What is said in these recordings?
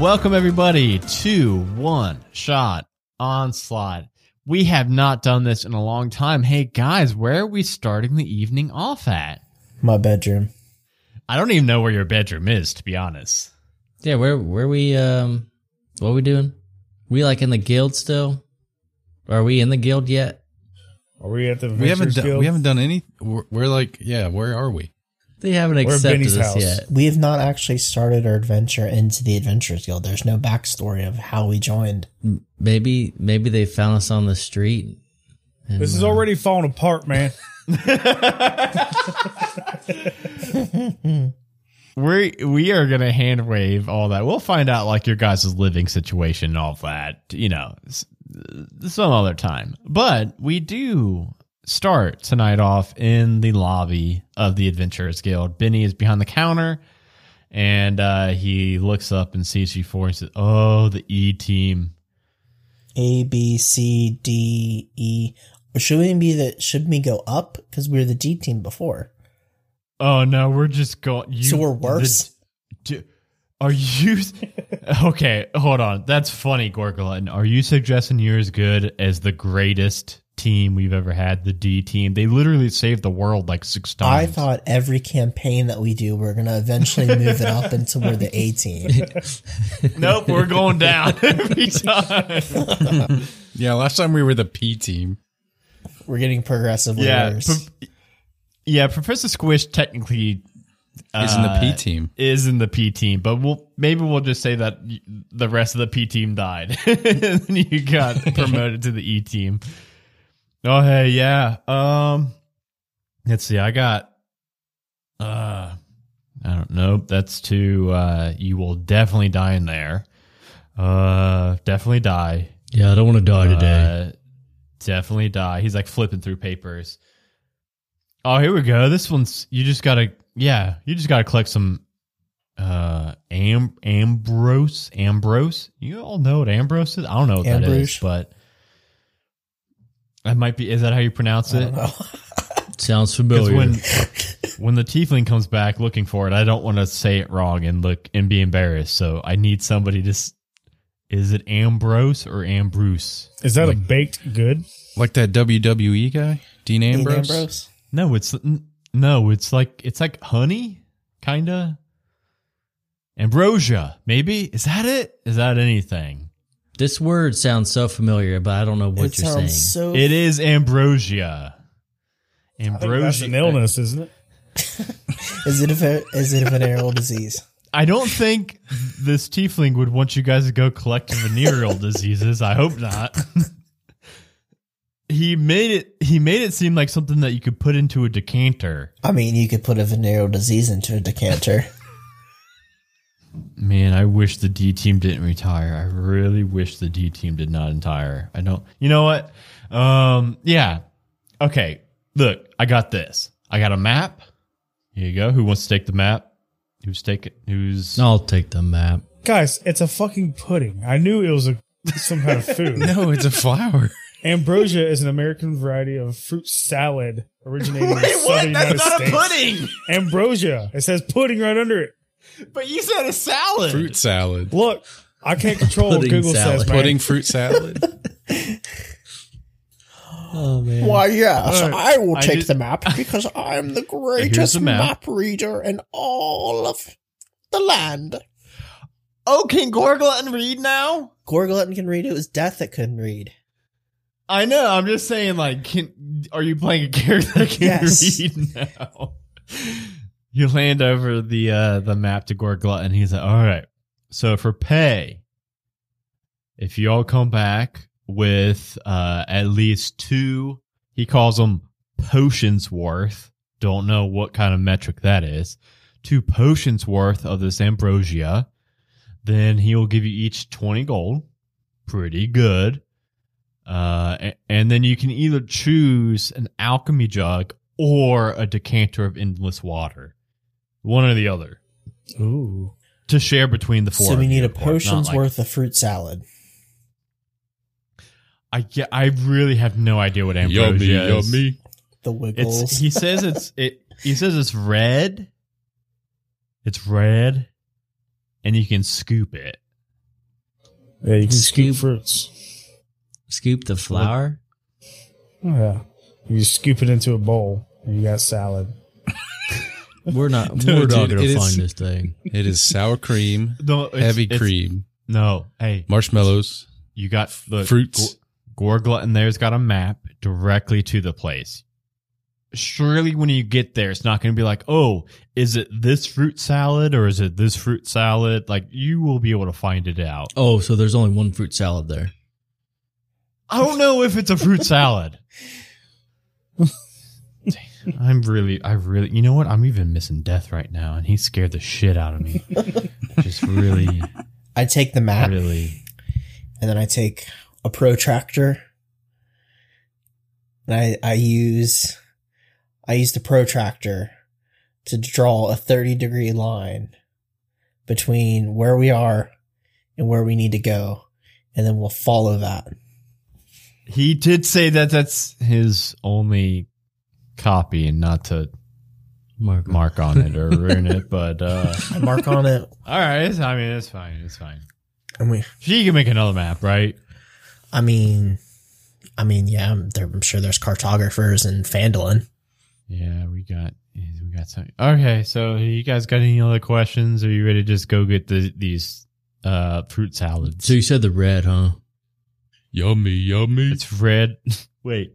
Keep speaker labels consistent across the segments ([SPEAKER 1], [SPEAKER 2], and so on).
[SPEAKER 1] Welcome everybody to One Shot Onslaught. We have not done this in a long time. Hey guys, where are we starting the evening off at?
[SPEAKER 2] My bedroom.
[SPEAKER 1] I don't even know where your bedroom is, to be honest.
[SPEAKER 3] Yeah, where where we um what we doing? We like in the guild still? Are we in the guild yet?
[SPEAKER 2] Are we at the
[SPEAKER 4] We haven't
[SPEAKER 2] Adventures
[SPEAKER 4] done,
[SPEAKER 2] Guild?
[SPEAKER 4] we haven't done any. We're, we're like, yeah, where are we?
[SPEAKER 3] They haven't
[SPEAKER 2] at
[SPEAKER 3] accepted
[SPEAKER 2] Benny's
[SPEAKER 3] us
[SPEAKER 2] house.
[SPEAKER 3] yet.
[SPEAKER 2] We have not actually started our adventure into the Adventurers Guild. There's no backstory of how we joined.
[SPEAKER 3] Maybe maybe they found us on the street. and,
[SPEAKER 5] This is
[SPEAKER 3] uh,
[SPEAKER 5] already falling apart, man.
[SPEAKER 1] We we are gonna hand wave all that. We'll find out like your guys' living situation and all that. You know, s- some other time. But we do start tonight off in the lobby of the Adventurers Guild. Benny is behind the counter, and uh, he looks up and sees you four and says, "Oh, the E team."
[SPEAKER 2] A B C D E. Or should we be the should we go up because we were the D team before?
[SPEAKER 1] Oh no, we're just going.
[SPEAKER 2] so we're worse.
[SPEAKER 1] Do, are you okay? Hold on, that's funny, Gorgulon. Are you suggesting you're as good as the greatest team we've ever had, the D team? They literally saved the world like six
[SPEAKER 2] I
[SPEAKER 1] times.
[SPEAKER 2] thought every campaign that we do, we're gonna eventually move it up until we're the A team.
[SPEAKER 1] nope, we're going down every time.
[SPEAKER 4] Yeah, last time we were the P team.
[SPEAKER 2] We're getting progressively
[SPEAKER 1] Yeah,
[SPEAKER 2] worse.
[SPEAKER 1] pro- yeah. Professor Squish technically
[SPEAKER 4] Isn't the P
[SPEAKER 1] Uh,
[SPEAKER 4] team?
[SPEAKER 1] is in the P team, but we'll maybe we'll just say that y- the rest of the P team died. and then you got promoted to the E team. Oh hey, yeah. Um let's see. I got uh I don't know. That's too uh you will definitely die in there. Uh definitely die.
[SPEAKER 3] Yeah, I don't want to die today.
[SPEAKER 1] Uh, definitely die. He's like flipping through papers. Oh, here we go. This one's you just gotta yeah, you just gotta collect some uh am ambrose ambrose you all know what ambrose is i don't know what that is
[SPEAKER 2] Ambrose.
[SPEAKER 1] but that might be is that how you pronounce
[SPEAKER 2] I
[SPEAKER 1] it
[SPEAKER 2] don't know.
[SPEAKER 3] Sounds
[SPEAKER 1] 'Cause
[SPEAKER 3] familiar.
[SPEAKER 1] when when the tiefling comes back looking for it i don't want to say it wrong and look and be embarrassed so i need somebody to s- is it ambrose or ambrose
[SPEAKER 5] Is that a baked good?
[SPEAKER 4] Like that WWE guy, Dean
[SPEAKER 2] Dean
[SPEAKER 4] Ambrose.
[SPEAKER 2] Ambrose?
[SPEAKER 1] No, it's n- no, it's like it's like honey, kinda. Ambrosia, maybe is that it? Is that anything?
[SPEAKER 3] this word sounds so familiar, but I don't know what
[SPEAKER 2] it
[SPEAKER 3] you're saying.
[SPEAKER 2] sounds so
[SPEAKER 1] It is ambrosia.
[SPEAKER 5] I think that's an
[SPEAKER 1] Ambrosia.
[SPEAKER 5] illness, isn't it?
[SPEAKER 2] Is it a ve- is it a venereal disease?
[SPEAKER 1] I don't think this tiefling would want you guys to go collect venereal diseases. I hope not. he made it. He made it seem like something that you could put into a decanter.
[SPEAKER 2] I mean, you could put a venereal disease into a decanter.
[SPEAKER 1] Man, I wish the D team didn't retire. I really wish the D team did not retire. I don't. You know what? Um, yeah. Okay. Look, I got this. I got a map. Here you go. Who wants to take the map? Who's take it? Who's
[SPEAKER 3] I'll take the map.
[SPEAKER 5] Guys, it's a fucking pudding. I knew it was a some kind of food.
[SPEAKER 4] No, it's a flower.
[SPEAKER 5] Ambrosia is an American variety of fruit salad originating in the southern United States.
[SPEAKER 1] pudding.
[SPEAKER 5] Ambrosia. It says pudding right under it.
[SPEAKER 1] But you said a salad.
[SPEAKER 4] fruit salad.
[SPEAKER 5] Look, I can't control what
[SPEAKER 3] Pudding
[SPEAKER 5] Google says.
[SPEAKER 3] salad.
[SPEAKER 5] Man.
[SPEAKER 4] Pudding fruit salad.
[SPEAKER 2] Why, yes, I will
[SPEAKER 1] I
[SPEAKER 2] take
[SPEAKER 1] just-
[SPEAKER 2] the map because I'm the
[SPEAKER 1] Here's
[SPEAKER 2] greatest
[SPEAKER 1] the map.
[SPEAKER 2] map. reader in all of the land.
[SPEAKER 1] Oh, can Gorglutton read now?
[SPEAKER 2] Gorglutton can read. It was Death that couldn't read.
[SPEAKER 1] I know. I'm just saying. Like, can are you playing a character that can
[SPEAKER 2] Yes.
[SPEAKER 1] read now? You land over the uh, the map to Gorglut, and he's like, "All right, so for pay, if you all come back with uh, at least two, he calls them potions worth. Don't know what kind of metric that is. Two potions worth of this ambrosia, then he will give you each twenty gold. Pretty good. Uh, a- and then you can either choose an alchemy jug or a decanter of endless water, one or the other,
[SPEAKER 5] Ooh.
[SPEAKER 1] to share between the four.
[SPEAKER 2] so
[SPEAKER 1] of
[SPEAKER 2] we need
[SPEAKER 1] you,
[SPEAKER 2] a
[SPEAKER 1] of course, not
[SPEAKER 2] potion's
[SPEAKER 1] like-
[SPEAKER 2] worth of fruit salad.
[SPEAKER 1] I ge- I really have no idea what ambrosia is.
[SPEAKER 2] The Wiggles.
[SPEAKER 1] It's he says it's it. He says it's red. It's red, and you can scoop it.
[SPEAKER 5] Yeah, you can scoop
[SPEAKER 3] Scoop.
[SPEAKER 5] fruits.
[SPEAKER 3] Scoop the flour.
[SPEAKER 5] Oh, Yeah. You just scoop it into a bowl and you got salad.
[SPEAKER 3] We're not.
[SPEAKER 4] No,
[SPEAKER 3] we're not
[SPEAKER 4] dude,
[SPEAKER 3] gonna
[SPEAKER 4] it is-
[SPEAKER 3] find this thing.
[SPEAKER 4] It is sour cream,
[SPEAKER 1] No, it's-
[SPEAKER 4] heavy
[SPEAKER 1] it's-
[SPEAKER 4] cream,
[SPEAKER 1] No, hey,
[SPEAKER 4] marshmallows,
[SPEAKER 1] you got the
[SPEAKER 4] fruits.
[SPEAKER 1] Gore Glutton there's got a map directly to the place. Surely when you get there, it's not going to be like, oh, is it this fruit salad or is it this fruit salad? Like, you will be able to find it out.
[SPEAKER 3] Oh, so there's only one fruit salad there.
[SPEAKER 1] I don't know if it's a fruit salad. Damn, I'm really, I really, you know what? I'm even missing death right now, and he scared the shit out of me. Just really,
[SPEAKER 2] I take the map
[SPEAKER 1] really.
[SPEAKER 2] and then I take a protractor and I I use I use the protractor to draw a 30 degree line between where we are and where we need to go and then we'll follow that.
[SPEAKER 1] He did say that that's his only copy and not to
[SPEAKER 3] Mark.
[SPEAKER 1] mark on it or ruin it, but uh
[SPEAKER 2] I mark on it
[SPEAKER 1] all right. It's, I mean, it's fine. It's fine.
[SPEAKER 2] and we
[SPEAKER 1] She can make another map, right?
[SPEAKER 2] I mean I mean yeah, I'm, there, I'm sure there's cartographers in Fandolin.
[SPEAKER 1] Yeah, we got we got something. Okay, so you guys got any other questions? Are you ready to just go get the, these uh fruit salads?
[SPEAKER 3] So you said the red, huh?
[SPEAKER 4] Yummy, yummy.
[SPEAKER 1] It's red. Wait,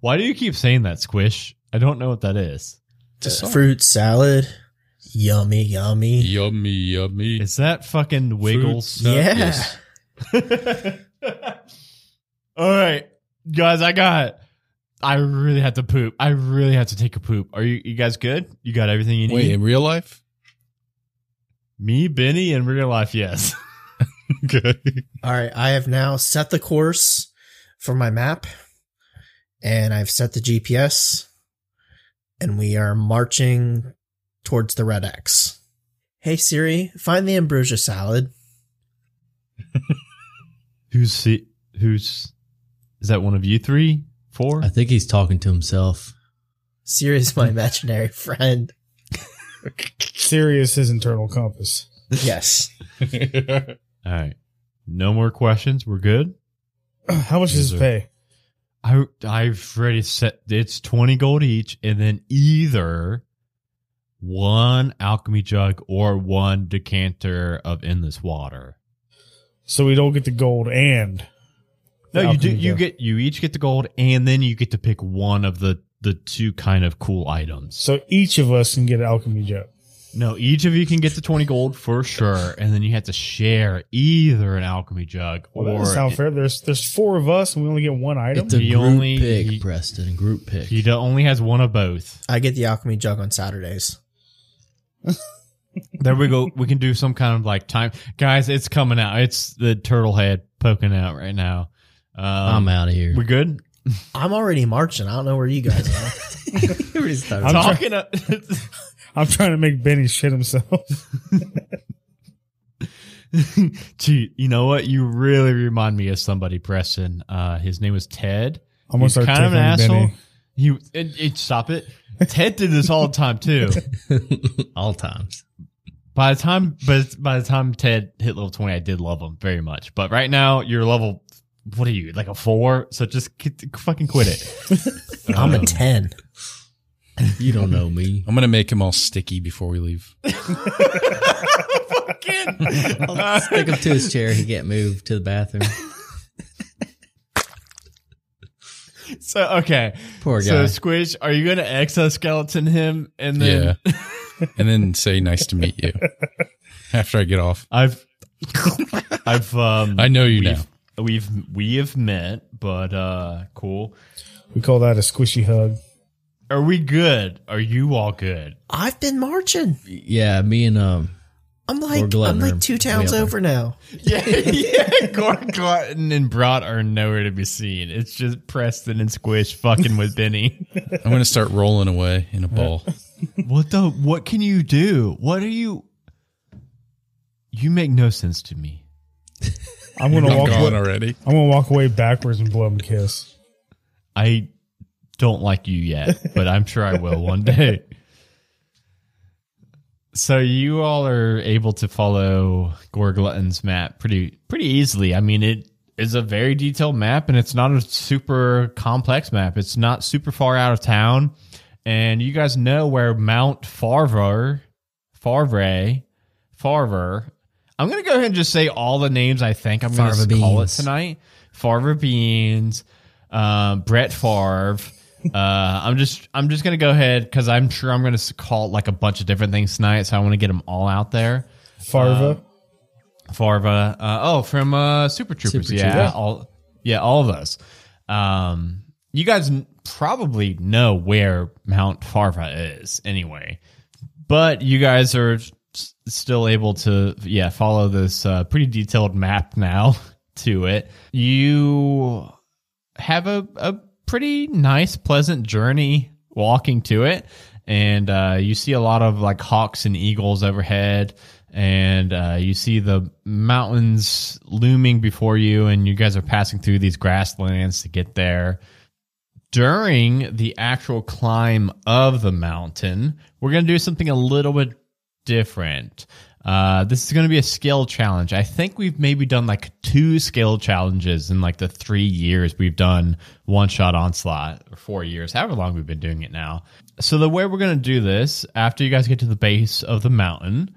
[SPEAKER 1] why do you keep saying that, Squish? I don't know what that is.
[SPEAKER 4] It's a song.
[SPEAKER 2] Fruit salad. Yummy, yummy.
[SPEAKER 4] Yummy, yummy.
[SPEAKER 1] Is that fucking Wiggles?
[SPEAKER 4] salad.
[SPEAKER 2] yeah.
[SPEAKER 4] Yes.
[SPEAKER 1] All right, guys, I got. I really have to poop. I really have to take a poop. Are you you guys good? You got everything you need?
[SPEAKER 4] Wait, in real life?
[SPEAKER 1] Me, Benny, in real life, yes.
[SPEAKER 4] okay.
[SPEAKER 2] All right, I have now set the course for my map, and I've set the GPS, and we are marching towards the red X. Hey Siri, find the ambrosia salad.
[SPEAKER 1] Who's see, who's is that? One of you three, four?
[SPEAKER 3] I think he's talking to himself.
[SPEAKER 2] Siri is my imaginary friend.
[SPEAKER 5] Siri is his internal compass.
[SPEAKER 2] Yes.
[SPEAKER 1] All right, no more questions. We're good.
[SPEAKER 5] How much does
[SPEAKER 1] Yes,
[SPEAKER 5] it pay?
[SPEAKER 1] I I've already set. It's twenty gold each, and then either one alchemy jug or one decanter of endless water.
[SPEAKER 5] So we don't get the gold and
[SPEAKER 1] No, you do.
[SPEAKER 5] Alchemy
[SPEAKER 1] You
[SPEAKER 5] jug.
[SPEAKER 1] get you each get the gold, and then you get to pick one of the the two kind of cool items.
[SPEAKER 5] so each of us can get an alchemy jet.
[SPEAKER 1] No, each of you can get the twenty gold for sure, and then you have to share either an alchemy jug
[SPEAKER 5] Well, that
[SPEAKER 1] or
[SPEAKER 5] doesn't sound fair. There's there's four of us and we only get one item.
[SPEAKER 3] It's a
[SPEAKER 1] He
[SPEAKER 3] group
[SPEAKER 1] only-
[SPEAKER 3] pick,
[SPEAKER 1] he-
[SPEAKER 3] Preston. Group pick.
[SPEAKER 1] he do- only has one of both.
[SPEAKER 2] I get the alchemy jug on Saturdays.
[SPEAKER 1] There we go. We can do some kind of like time, guys. It's coming out. It's the turtle head poking out right now. Um,
[SPEAKER 3] I'm out of here.
[SPEAKER 1] We good?
[SPEAKER 2] I'm already marching. I don't know where you guys are.
[SPEAKER 5] I'm
[SPEAKER 1] Talking. to-
[SPEAKER 5] I'm trying to make Benny shit himself.
[SPEAKER 1] Gee, you know what? You really remind me of somebody, Preston. Uh, his name was Ted.
[SPEAKER 5] I'm gonna start
[SPEAKER 1] He's
[SPEAKER 5] taking
[SPEAKER 1] kind of an asshole.
[SPEAKER 5] Benny.
[SPEAKER 1] He it, it, stop it. Ted did this all the time too.
[SPEAKER 3] All times.
[SPEAKER 1] By the time, but by the time Ted hit level twenty, I did love him very much. But right now, you're level. What are you like a four? So just get, fucking quit it.
[SPEAKER 2] I'm a ten.
[SPEAKER 3] You don't know me.
[SPEAKER 4] I'm going to make him all sticky before we leave.
[SPEAKER 3] I'll stick him to his chair. He can't move to the bathroom.
[SPEAKER 1] So okay,
[SPEAKER 3] Poor
[SPEAKER 1] so
[SPEAKER 3] guy.
[SPEAKER 1] Squish, are you gonna exoskeleton him? And then
[SPEAKER 4] yeah. and then say, nice to meet you after I get off.
[SPEAKER 1] I've, I've, um,
[SPEAKER 4] I know you
[SPEAKER 1] we've,
[SPEAKER 4] now.
[SPEAKER 1] We've we have met, but uh, cool.
[SPEAKER 5] We call that a squishy hug.
[SPEAKER 1] Are we good? Are you all good?
[SPEAKER 2] I've been marching.
[SPEAKER 3] yeah, me and um.
[SPEAKER 2] I'm
[SPEAKER 3] Or
[SPEAKER 2] like I'm
[SPEAKER 3] Glenn
[SPEAKER 2] like
[SPEAKER 3] or
[SPEAKER 2] two towns
[SPEAKER 3] whatever.
[SPEAKER 2] over now.
[SPEAKER 1] Yeah, yeah. Gordon Glutton and Brat are nowhere to be seen. It's just Preston and Squish fucking with Benny.
[SPEAKER 4] I'm going to start rolling away in a ball.
[SPEAKER 1] what the? What can you do? What are you? You make no sense to me.
[SPEAKER 5] I'm gonna
[SPEAKER 4] I'm
[SPEAKER 5] walk
[SPEAKER 4] gone
[SPEAKER 5] away,
[SPEAKER 4] already.
[SPEAKER 5] I'm gonna walk away backwards and blow him a kiss.
[SPEAKER 1] I don't like you yet, but I'm sure I will one day. So you all are able to follow Gore Glutton's map pretty pretty easily. I mean, it is a very detailed map, and it's not a super complex map. It's not super far out of town, and you guys know where Mount Farver, Farvre, Farver. I'm gonna go ahead and just say all the names I think I'm
[SPEAKER 3] Farver
[SPEAKER 1] gonna call
[SPEAKER 3] beans.
[SPEAKER 1] it tonight. Farver Beans, um, Brett Favre. Uh, I'm just I'm just gonna go ahead because I'm sure I'm gonna s- call it like a bunch of different things tonight, so I want to get them all out there. Uh,
[SPEAKER 5] Farva.
[SPEAKER 1] Farva, uh, oh, from uh, Super Troopers,
[SPEAKER 3] Super
[SPEAKER 1] yeah,
[SPEAKER 3] Troopers.
[SPEAKER 1] all yeah, all of us. Um, you guys n- probably know where Mount Farva is anyway, but you guys are s- still able to yeah follow this uh, pretty detailed map now to it. You have a, a pretty nice, pleasant journey walking to it. And uh, you see a lot of like hawks and eagles overhead. And uh, you see the mountains looming before you. And you guys are passing through these grasslands to get there. During the actual climb of the mountain, we're going to do something a little bit different. Uh, this is going to be a skill challenge. I think we've maybe done like two skill challenges in like the three years we've done one shot onslaught or four years, however long we've been doing it now. So the way we're going to do this after you guys get to the base of the mountain,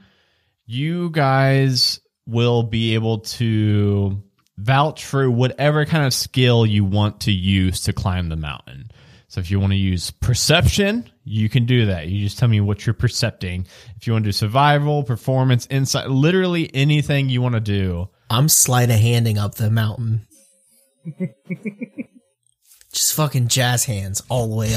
[SPEAKER 1] you guys will be able to vouch for whatever kind of skill you want to use to climb the mountain. So if you want to use perception, you can do that. You just tell me what you're percepting. If you want to do survival, performance, insight, literally anything you want to do.
[SPEAKER 2] I'm sleight of handing up the mountain. Just fucking jazz hands all the way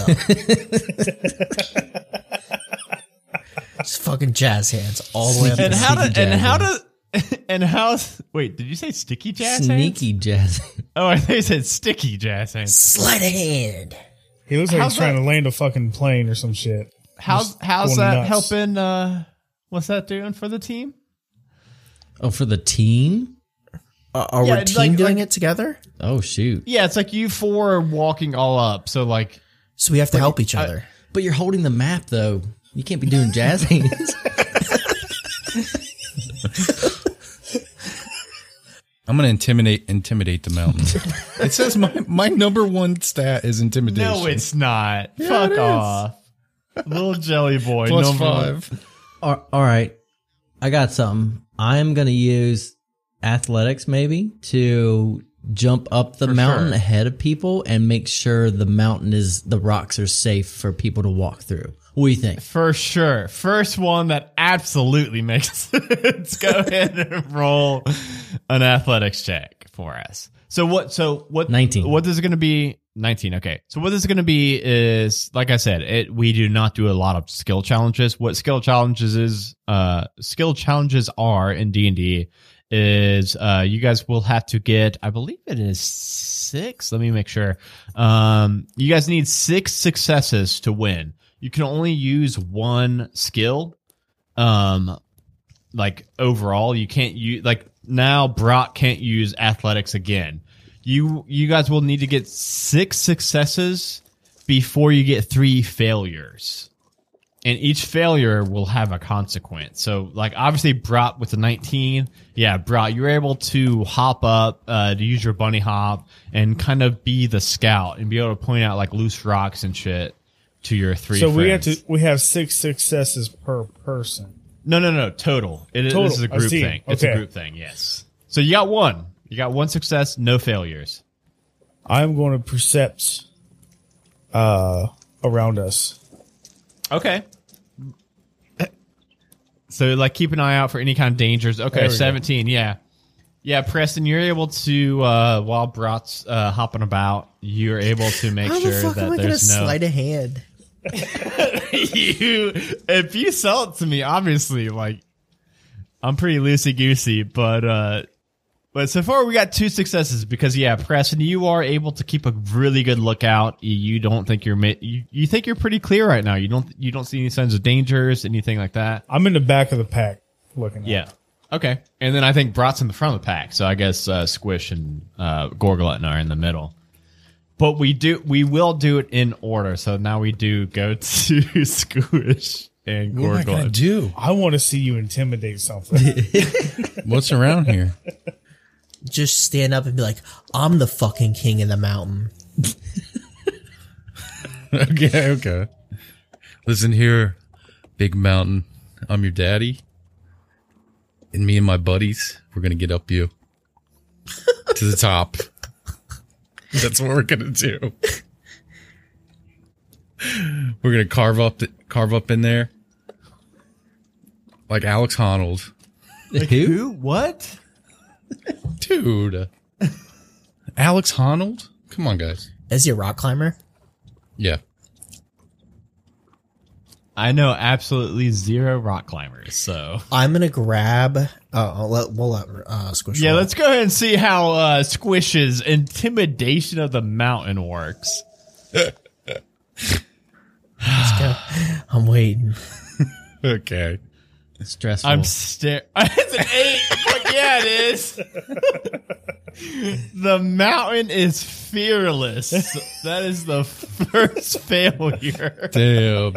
[SPEAKER 2] up. Just fucking jazz hands all the way up.
[SPEAKER 3] And how do- Sneaky and how
[SPEAKER 1] does and how wait, did you say sticky jazz
[SPEAKER 3] Sneaky jazz.
[SPEAKER 1] Oh, I think you said sticky jazz hands.
[SPEAKER 2] sleight of hand.
[SPEAKER 5] He looks like
[SPEAKER 1] How's
[SPEAKER 5] he's trying
[SPEAKER 1] that-
[SPEAKER 5] to land a fucking plane or some shit.
[SPEAKER 1] How's how's
[SPEAKER 5] going
[SPEAKER 1] that
[SPEAKER 5] nuts.
[SPEAKER 1] helping uh what's that doing for the team?
[SPEAKER 3] oh, for the team?
[SPEAKER 2] Uh, are
[SPEAKER 1] Yeah,
[SPEAKER 2] we
[SPEAKER 1] it's
[SPEAKER 2] team
[SPEAKER 1] like-
[SPEAKER 2] doing
[SPEAKER 1] like-
[SPEAKER 2] it together?
[SPEAKER 3] Oh shoot!
[SPEAKER 1] Yeah, it's like you four are walking all up. So like
[SPEAKER 2] So we have to help each other.
[SPEAKER 3] But you're holding the map though. You can't be doing jazz hands.
[SPEAKER 4] I'm gonna intimidate intimidate the mountain. it says my my number one stat is intimidation.
[SPEAKER 1] No, it's not. Fuck off. Little jelly boy.
[SPEAKER 4] Plus
[SPEAKER 1] number one.
[SPEAKER 4] five.
[SPEAKER 3] all all right, I got something. I'm gonna use athletics maybe to jump up the mountain
[SPEAKER 1] sure.
[SPEAKER 3] ahead of people and make sure the mountain is the rocks are safe for people to walk through. What do you think?
[SPEAKER 1] For sure. First one that absolutely makes sense. Go ahead and roll an athletics check for us. So what so what
[SPEAKER 3] 19.
[SPEAKER 1] what this is gonna be 19 okay so what this is going to be is like i said it we do not do a lot of skill challenges what skill challenges is uh skill challenges are in d&d is uh you guys will have to get i believe it is six let me make sure um you guys need six successes to win you can only use one skill um like overall you can't use like now brock can't use athletics again you you guys will need to get six successes before you get three failures and each failure will have a consequence so like obviously brock with the 19 yeah brock you're able to hop up uh, to use your bunny hop and kind of be the scout and be able to point out like loose rocks and shit to your three
[SPEAKER 5] So we have
[SPEAKER 1] friends.
[SPEAKER 5] to we have six successes per person.
[SPEAKER 1] No, no, no. Total. It is.
[SPEAKER 5] Total.
[SPEAKER 1] This is a
[SPEAKER 5] I
[SPEAKER 1] group
[SPEAKER 5] see.
[SPEAKER 1] thing. It's a
[SPEAKER 5] Okay.
[SPEAKER 1] group thing. Yes. So you got one. You got one success, no failures.
[SPEAKER 5] I'm going to percept uh around us.
[SPEAKER 1] Okay. So like, keep an eye out for any kind of dangers.
[SPEAKER 5] There
[SPEAKER 1] Okay,
[SPEAKER 5] we go.
[SPEAKER 1] seventeen. Yeah, yeah. Preston, you're able to uh, while Brock's uh, hopping about, you're able to make
[SPEAKER 2] How
[SPEAKER 1] sure
[SPEAKER 2] the fuck
[SPEAKER 1] that
[SPEAKER 2] am I gonna
[SPEAKER 1] there's no.
[SPEAKER 2] sleight of hand?
[SPEAKER 1] you if you sell it to me, obviously, like I'm pretty loosey goosey, but uh but so far we got two successes because yeah, Preston, you are able to keep a really good lookout. You, you don't think you're ma- you, you think you're pretty clear right now. You don't you don't see any signs of dangers, anything like that.
[SPEAKER 5] I'm in the back of the pack looking.
[SPEAKER 1] Yeah. Okay. And then I think Brot's in the front of the pack, so I guess uh, Squish and uh, Gorglutton are in the middle. But we do we will do it in order. So now we do go to Squish and
[SPEAKER 4] What am I gonna
[SPEAKER 1] Gorglet.
[SPEAKER 4] do?
[SPEAKER 5] I want to see you intimidate something.
[SPEAKER 4] What's around here?
[SPEAKER 2] Just stand up and be like, I'm the fucking king of the mountain.
[SPEAKER 4] okay, okay. Listen here, Big Mountain. I'm your daddy. And me and my buddies, we're going to get up you to the top. That's what we're going to do. We're going to carve up the, carve up in there like Alex Honnold.
[SPEAKER 3] Who?
[SPEAKER 1] Who? What?
[SPEAKER 4] Dude. Alex Honnold? Come on, guys.
[SPEAKER 2] Is he a rock climber?
[SPEAKER 4] Yeah.
[SPEAKER 1] I know absolutely zero rock climbers. So
[SPEAKER 2] I'm gonna grab. Uh, I'll let, we'll let uh, Squish.
[SPEAKER 1] yeah,
[SPEAKER 2] roll.
[SPEAKER 1] let's go ahead and see how uh, Squish's intimidation of the mountain works.
[SPEAKER 2] I'm waiting.
[SPEAKER 4] Okay.
[SPEAKER 3] Stressful.
[SPEAKER 1] I'm staring. it's an eight. Fuck yeah, it is. the mountain is fearless. That is the first failure.
[SPEAKER 4] Damn.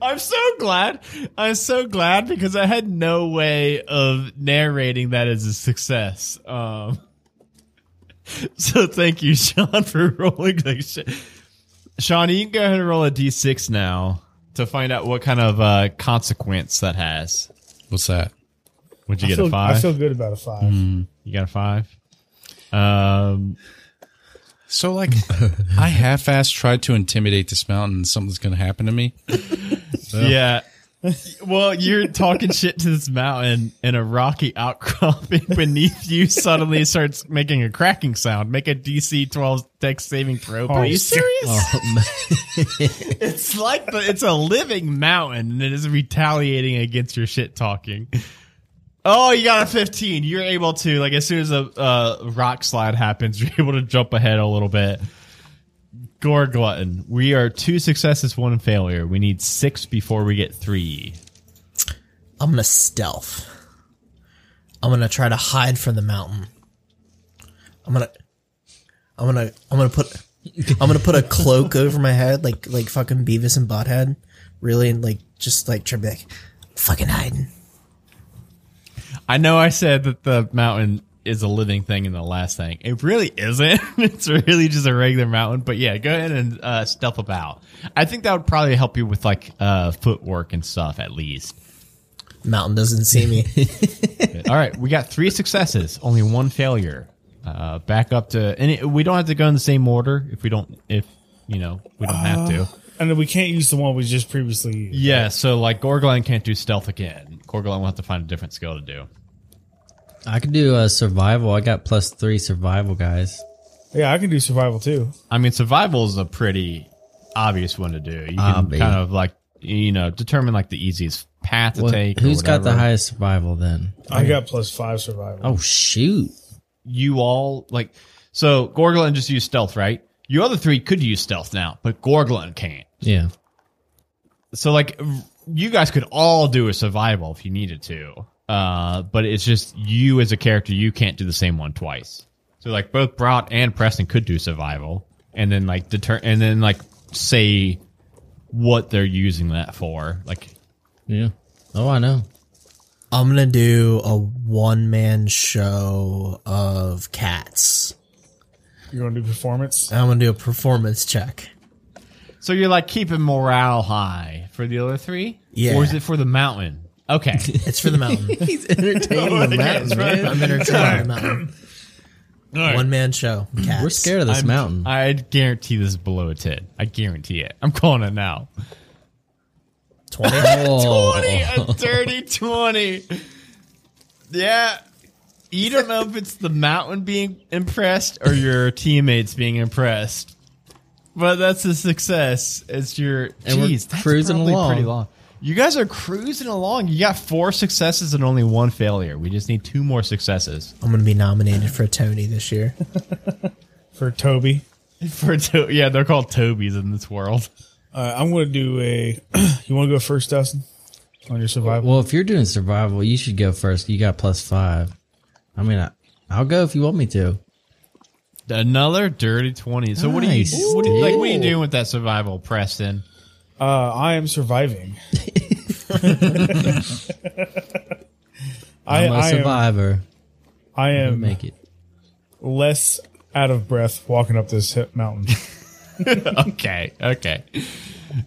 [SPEAKER 1] I'm so glad. I'm so glad because I had no way of narrating that as a success. Um, so thank you, Sean, for rolling. Like sh- Sean, you can go ahead and roll a d6 now to find out what kind of uh, consequence that has.
[SPEAKER 4] What's that?
[SPEAKER 1] Would you
[SPEAKER 5] I
[SPEAKER 1] get
[SPEAKER 5] feel,
[SPEAKER 1] a five? Mm-hmm.
[SPEAKER 5] I feel good about a five.
[SPEAKER 1] You got a five. Um,
[SPEAKER 4] So like I half assed tried to intimidate this mountain and something's gonna happen to me.
[SPEAKER 1] yeah. Well, you're talking shit to this mountain, and a rocky outcropping beneath you suddenly starts making a cracking sound. Make a DC 12 dex saving throw.
[SPEAKER 5] Oh,
[SPEAKER 1] Are you
[SPEAKER 5] shit.
[SPEAKER 1] serious?
[SPEAKER 3] Oh,
[SPEAKER 1] It's like the, it's a living mountain, and it is retaliating against your shit talking. Oh, you got a 15. You're able to like as soon as a uh, rock slide happens, you're able to jump ahead a little bit. Gore glutton. We are two successes, one failure. We need six before we get three.
[SPEAKER 2] I'm gonna stealth. I'm gonna try to hide from the mountain. I'm gonna, I'm gonna, I'm gonna put, I'm gonna put a cloak over my head, like like fucking Beavis and Butthead, really, and like just like try to be like, fucking hiding.
[SPEAKER 1] I know I said that the mountain is a living thing in the last thing. It really isn't. it's really just a regular mountain. But yeah, go ahead and uh, stealth about. I think that would probably help you with like uh, footwork and stuff at least.
[SPEAKER 2] Mountain doesn't see me.
[SPEAKER 1] All right, we got three successes, only one failure. Uh, back up to, and it, we don't have to go in the same order if we don't, if you know, we don't have to.
[SPEAKER 5] And then we can't use the one we just previously used.
[SPEAKER 1] Yeah, so like Gorgolan can't do stealth again. Gorgolan will have to find a different skill to do.
[SPEAKER 3] I could do a survival. I got plus three survival, guys.
[SPEAKER 5] Yeah, I can do survival too.
[SPEAKER 1] I mean, survival is a pretty obvious one to do. You can
[SPEAKER 3] Obvi.
[SPEAKER 1] kind of like, you know, determine like the easiest path to
[SPEAKER 3] Well,
[SPEAKER 1] take. or
[SPEAKER 3] who's got the
[SPEAKER 1] whatever.
[SPEAKER 3] highest survival then?
[SPEAKER 5] I got plus five survival.
[SPEAKER 3] Oh shoot!
[SPEAKER 1] You all like, so Gorgolan just used stealth, right? You other three could use stealth now, but Gorgolan can't.
[SPEAKER 3] Yeah.
[SPEAKER 1] so like r- you guys could all do a survival if you needed to uh but it's just you as a character you can't do the same one twice so like both Broad and preston could do survival and then like deter and then like say what they're using that for like
[SPEAKER 3] Yeah. Oh, I know.
[SPEAKER 2] I'm gonna do a one man show of cats.
[SPEAKER 5] You're going to do performance?
[SPEAKER 2] I'm gonna do a performance check.
[SPEAKER 1] so you're like keeping morale high for the other three
[SPEAKER 2] Yeah.
[SPEAKER 1] or is it for the mountain okay
[SPEAKER 2] It's for the mountain.
[SPEAKER 3] He's entertaining the mountain.
[SPEAKER 2] I'm entertaining the mountain. One man show. of Cats.
[SPEAKER 3] We're scared of this
[SPEAKER 1] I'm-
[SPEAKER 3] mountain.
[SPEAKER 1] i guarantee this is below a 10 i guarantee it i'm calling it now
[SPEAKER 2] Twenty.
[SPEAKER 1] 20,
[SPEAKER 3] oh,
[SPEAKER 1] a dirty 20. Yeah. You don't know if it's the mountain being impressed or your teammates being impressed. But that's a success. It's your
[SPEAKER 3] And we're
[SPEAKER 1] Jeez, that's
[SPEAKER 3] cruising
[SPEAKER 1] probably
[SPEAKER 3] along.
[SPEAKER 1] Pretty long. You guys are cruising along. You got four successes and only one failure. We just need two more successes
[SPEAKER 2] I'm gonna be nominated for a Tony this year.
[SPEAKER 5] For Toby.
[SPEAKER 1] for to- yeah. They're called Tobies in this world.
[SPEAKER 5] Uh, I'm going to do a. you want to go first, Dustin? On your survival?
[SPEAKER 3] well, if you're doing survival, you should go first. You got plus five. I mean, I, I'll go if you want me to.
[SPEAKER 1] Another dirty twenty. So what do you
[SPEAKER 3] Nice,
[SPEAKER 1] what do you, like? What are you
[SPEAKER 3] dude.
[SPEAKER 1] doing with that survival, Preston?
[SPEAKER 5] Uh, I am surviving. I,
[SPEAKER 3] I'm a
[SPEAKER 5] I am,
[SPEAKER 3] survivor.
[SPEAKER 5] I
[SPEAKER 3] We'll
[SPEAKER 5] am
[SPEAKER 3] make it.
[SPEAKER 5] less out of breath walking up this hip mountain.
[SPEAKER 1] okay, okay.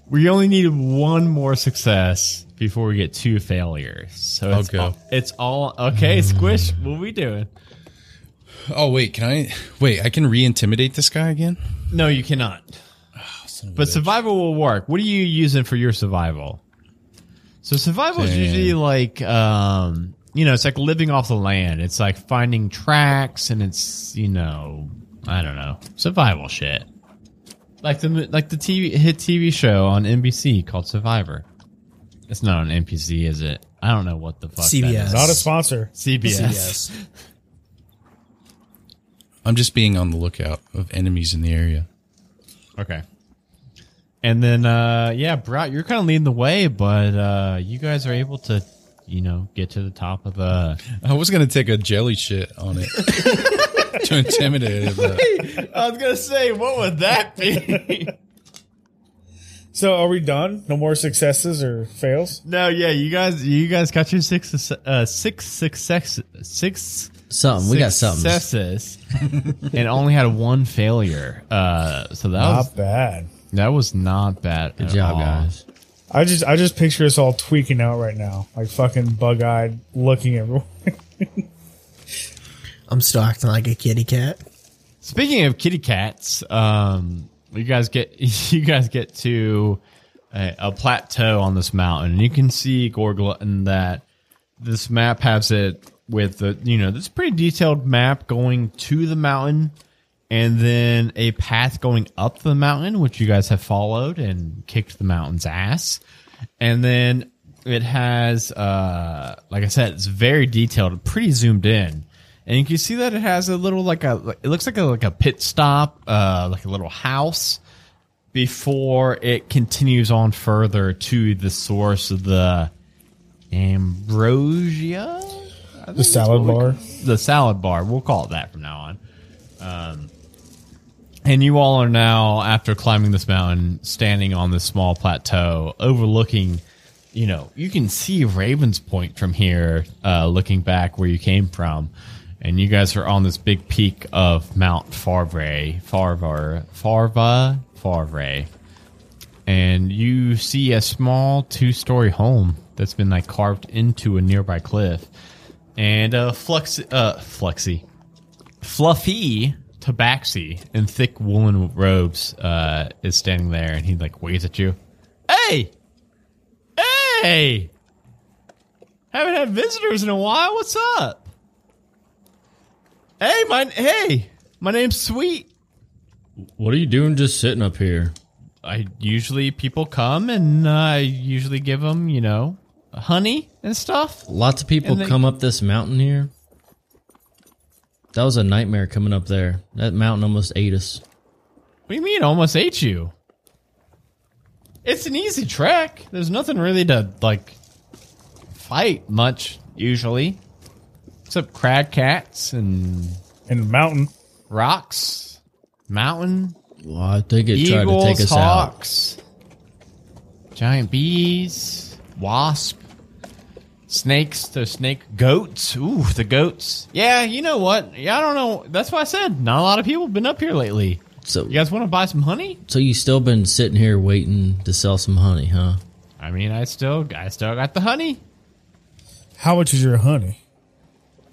[SPEAKER 1] We only need one more success before we get two failures. So it's
[SPEAKER 4] Okay.
[SPEAKER 1] all, it's all okay. Squish, what we doing?
[SPEAKER 4] Oh wait, can I? Wait, I can re-intimidate this guy again.
[SPEAKER 1] No, you cannot. But survival will work. What are you using for your survival? So survival is
[SPEAKER 4] Damn.
[SPEAKER 1] usually like um, you know, it's like living off the land. It's like finding tracks and it's, you know, I don't know. Survival shit. Like the like the TV hit TV show on NBC called Survivor. It's not on NBC, is it? I don't know what the fuck that
[SPEAKER 2] CBS.
[SPEAKER 1] is.
[SPEAKER 5] Not a sponsor.
[SPEAKER 1] CBS.
[SPEAKER 2] Yes.
[SPEAKER 4] I'm just being on the lookout of enemies in the area.
[SPEAKER 1] Okay. And then uh yeah, Brat, you're kind of leading the way, but uh you guys are able to, you know, get to the top of uh, the
[SPEAKER 4] I was gonna take a jelly shit on it to intimidate it. But
[SPEAKER 1] I was gonna say, what would that be?
[SPEAKER 5] So are we done? No more successes or fails?
[SPEAKER 1] no, yeah, you guys, you guys got your six, uh, six success, six.
[SPEAKER 3] Something. We got something.
[SPEAKER 1] successes, and only had one failure. Uh, so that was
[SPEAKER 5] Not bad.
[SPEAKER 1] that was not bad.
[SPEAKER 3] Good job, guys.
[SPEAKER 5] I just I just picture us all tweaking out right now, like fucking bug eyed, looking everywhere.
[SPEAKER 2] I'm still acting like a kitty cat.
[SPEAKER 1] Speaking of kitty cats, um, you guys get you guys get to a, a plateau on this mountain, and you can see Gorglutton that this map has it with the you know this pretty detailed map going to the mountain, and then a path going up the mountain, which you guys have followed and kicked the mountain's ass, and then it has uh, like I said, it's very detailed, pretty zoomed in and you can see that it has a little like a like- it looks like a like a pit stop uh like a little house before it continues on further to the source of the ambrosia I think
[SPEAKER 5] The
[SPEAKER 1] that's
[SPEAKER 5] salad
[SPEAKER 1] what we
[SPEAKER 5] bar.
[SPEAKER 1] ca- the salad bar we'll call it that from now on um and you all are now after climbing this mountain standing on this small plateau overlooking you know, you can see Ravens Point from here, uh, looking back where you came from, and you guys are on this big peak of Mount Farvray, Farvar, Farva, Farvray, and you see a small two-story home that's been like carved into a nearby cliff, and uh, Flux, uh, Fluxy, fluffy tabaxi in thick woolen robes uh, is standing there and he like waves at you hey hey haven't had visitors in a while what's up hey my hey my name's sweet
[SPEAKER 3] What are you doing just sitting up here?
[SPEAKER 1] i usually people come and uh, i usually give them you know honey and stuff
[SPEAKER 3] Lots of people
[SPEAKER 1] And they-
[SPEAKER 3] come up this mountain here. That was a nightmare coming up there. That mountain almost ate us.
[SPEAKER 1] What do you mean? Almost ate you. It's an easy trek. There's nothing really to like fight much usually, except crag cats and
[SPEAKER 5] in the mountain.
[SPEAKER 1] rocks, mountain
[SPEAKER 3] Well, I think it tried
[SPEAKER 1] eagles,
[SPEAKER 3] to take us out.
[SPEAKER 1] hawks, giant bees, wasp, snakes. There's snake goats. Ooh, the goats. Yeah, you know what? Yeah, I don't know. That's why I said not a lot of people have been up here lately.
[SPEAKER 3] So,
[SPEAKER 1] You guys want to buy some honey?
[SPEAKER 3] so you still been sitting here waiting to sell some honey, huh?
[SPEAKER 1] I mean, I still, I still got the honey.
[SPEAKER 5] How much is your honey?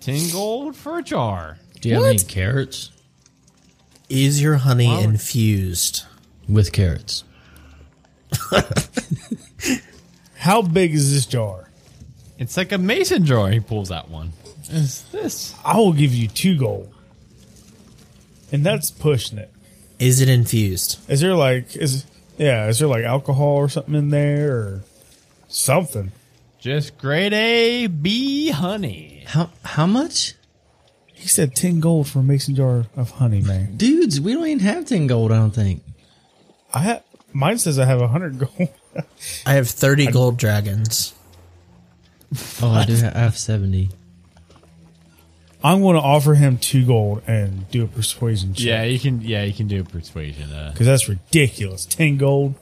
[SPEAKER 1] Ten gold for a jar.
[SPEAKER 3] Do you have any carrots?
[SPEAKER 2] Is your honey
[SPEAKER 1] Wow.
[SPEAKER 2] infused?
[SPEAKER 3] With carrots.
[SPEAKER 5] How big is this jar?
[SPEAKER 1] It's like a mason jar. He pulls out one. Is this?
[SPEAKER 5] I will give you two gold. And that's pushing it.
[SPEAKER 2] Is it infused?
[SPEAKER 5] Is there like is yeah, is there like alcohol or something in there or something?
[SPEAKER 1] Just grade A B honey.
[SPEAKER 3] How how much?
[SPEAKER 5] He said ten gold for a mason jar of honey, man.
[SPEAKER 3] Dudes, we don't even have 10 gold, I don't think.
[SPEAKER 5] I ha- mine says I have a hundred gold.
[SPEAKER 2] I have 30 gold dragons.
[SPEAKER 3] Oh, I do have, I have 70.
[SPEAKER 5] I'm gonna offer him two gold and do a persuasion check.
[SPEAKER 1] Yeah, you can. Yeah, you can do persuasion. Uh,
[SPEAKER 5] Cause that's ridiculous. Ten gold.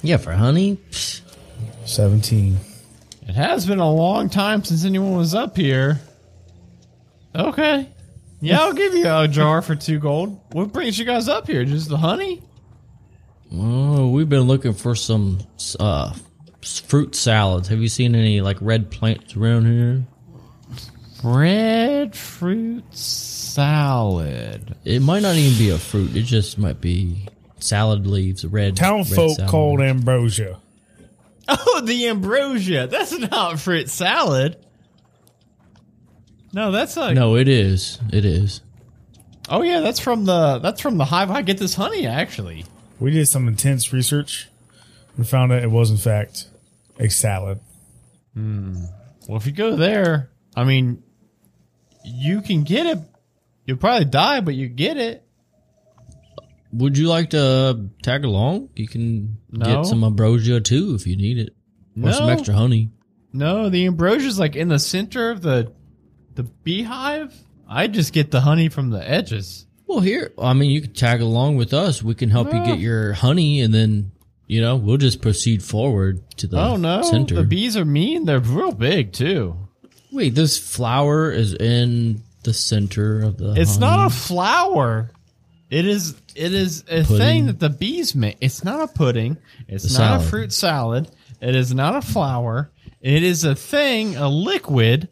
[SPEAKER 3] Yeah, for honey? Psh,
[SPEAKER 5] Seventeen.
[SPEAKER 1] It has been a long time since anyone was up here. Okay. Yeah, I'll give you a jar for two gold. What brings you guys up here? Just the honey?
[SPEAKER 3] Oh, we've been looking for some uh, s- fruit salads. Have you seen any like red plants around here?
[SPEAKER 1] Red fruit salad.
[SPEAKER 3] It might not even be a fruit. It just might be salad leaves, red.
[SPEAKER 5] Town
[SPEAKER 3] red
[SPEAKER 5] folk
[SPEAKER 3] salad.
[SPEAKER 5] called ambrosia.
[SPEAKER 1] Oh, the ambrosia. That's not fruit salad. No, that's like
[SPEAKER 3] No, it is. It is.
[SPEAKER 1] Oh yeah, that's from the that's from the hive. I get this honey actually.
[SPEAKER 5] We did some intense research and found out it was in fact a salad.
[SPEAKER 1] Well, if you go there, I mean, you can get it. You'll probably die, but you get it.
[SPEAKER 3] Would you like to uh, tag along? You can
[SPEAKER 1] No.
[SPEAKER 3] get some ambrosia too if you need it, or some
[SPEAKER 1] No.
[SPEAKER 3] extra honey.
[SPEAKER 1] No, the ambrosia's like in the center of the the beehive. I just get the honey from the edges.
[SPEAKER 3] Well, here, I mean, you can tag along with us. We can help you get your honey, and then you know we'll just proceed forward to the
[SPEAKER 1] Oh no,
[SPEAKER 3] center.
[SPEAKER 1] the bees are mean. They're real big too.
[SPEAKER 3] Wait, this flower is in the center of the.
[SPEAKER 1] It's not a
[SPEAKER 3] honey.
[SPEAKER 1] flower. It is it is a thing
[SPEAKER 3] Pudding.
[SPEAKER 1] that the bees make. It's not a pudding. It's
[SPEAKER 3] A
[SPEAKER 1] not a
[SPEAKER 3] salad.
[SPEAKER 1] fruit salad. It is not a flower. It is a thing, a liquid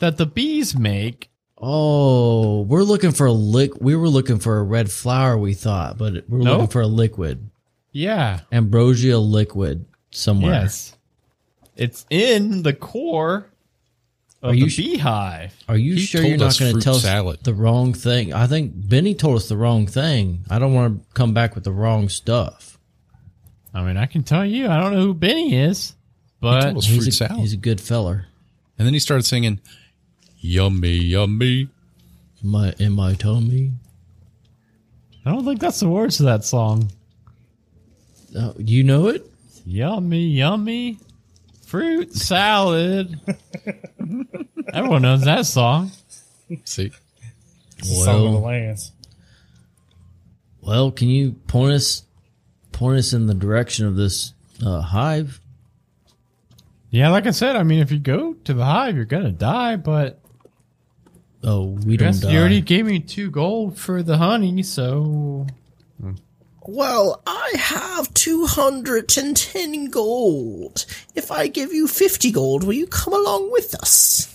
[SPEAKER 1] that the bees make.
[SPEAKER 3] Oh, we're looking for a lick. We were looking for a red flower. We thought, but we're
[SPEAKER 1] No.
[SPEAKER 3] looking for a liquid
[SPEAKER 1] Yeah.
[SPEAKER 3] ambrosia liquid somewhere.
[SPEAKER 1] Yes. It's in the core of
[SPEAKER 3] Are you
[SPEAKER 1] the
[SPEAKER 3] sh-
[SPEAKER 1] beehive.
[SPEAKER 3] Are you
[SPEAKER 4] He
[SPEAKER 3] sure
[SPEAKER 4] told
[SPEAKER 3] you're not
[SPEAKER 4] us
[SPEAKER 3] going to
[SPEAKER 4] fruit
[SPEAKER 3] tell
[SPEAKER 4] salad.
[SPEAKER 3] us the wrong thing? I think Benny told us the wrong thing. I don't want to come back with the wrong stuff.
[SPEAKER 1] I mean, I can tell you, I don't know who Benny is, but
[SPEAKER 4] told us
[SPEAKER 3] He's
[SPEAKER 4] fruit
[SPEAKER 3] a,
[SPEAKER 4] salad.
[SPEAKER 3] he's a good feller.
[SPEAKER 4] and then he started singing, "Yummy, yummy."
[SPEAKER 3] In my in my tummy.
[SPEAKER 1] I don't think that's the words to that song.
[SPEAKER 3] Oh, you know it.
[SPEAKER 1] Yummy, yummy fruit salad. Everyone knows that song.
[SPEAKER 4] See,
[SPEAKER 5] It's a song of the
[SPEAKER 3] Well.
[SPEAKER 5] lands.
[SPEAKER 3] Well, can you point us point us in the direction of this uh, hive?
[SPEAKER 1] Yeah, like I said, I mean, if you go to the hive, you're gonna die. But
[SPEAKER 3] Oh, we don't.
[SPEAKER 1] guess
[SPEAKER 3] Die.
[SPEAKER 1] you already gave me two gold for the honey, so
[SPEAKER 2] Well, I have 210 gold. If I give you 50 gold, will you come along with us?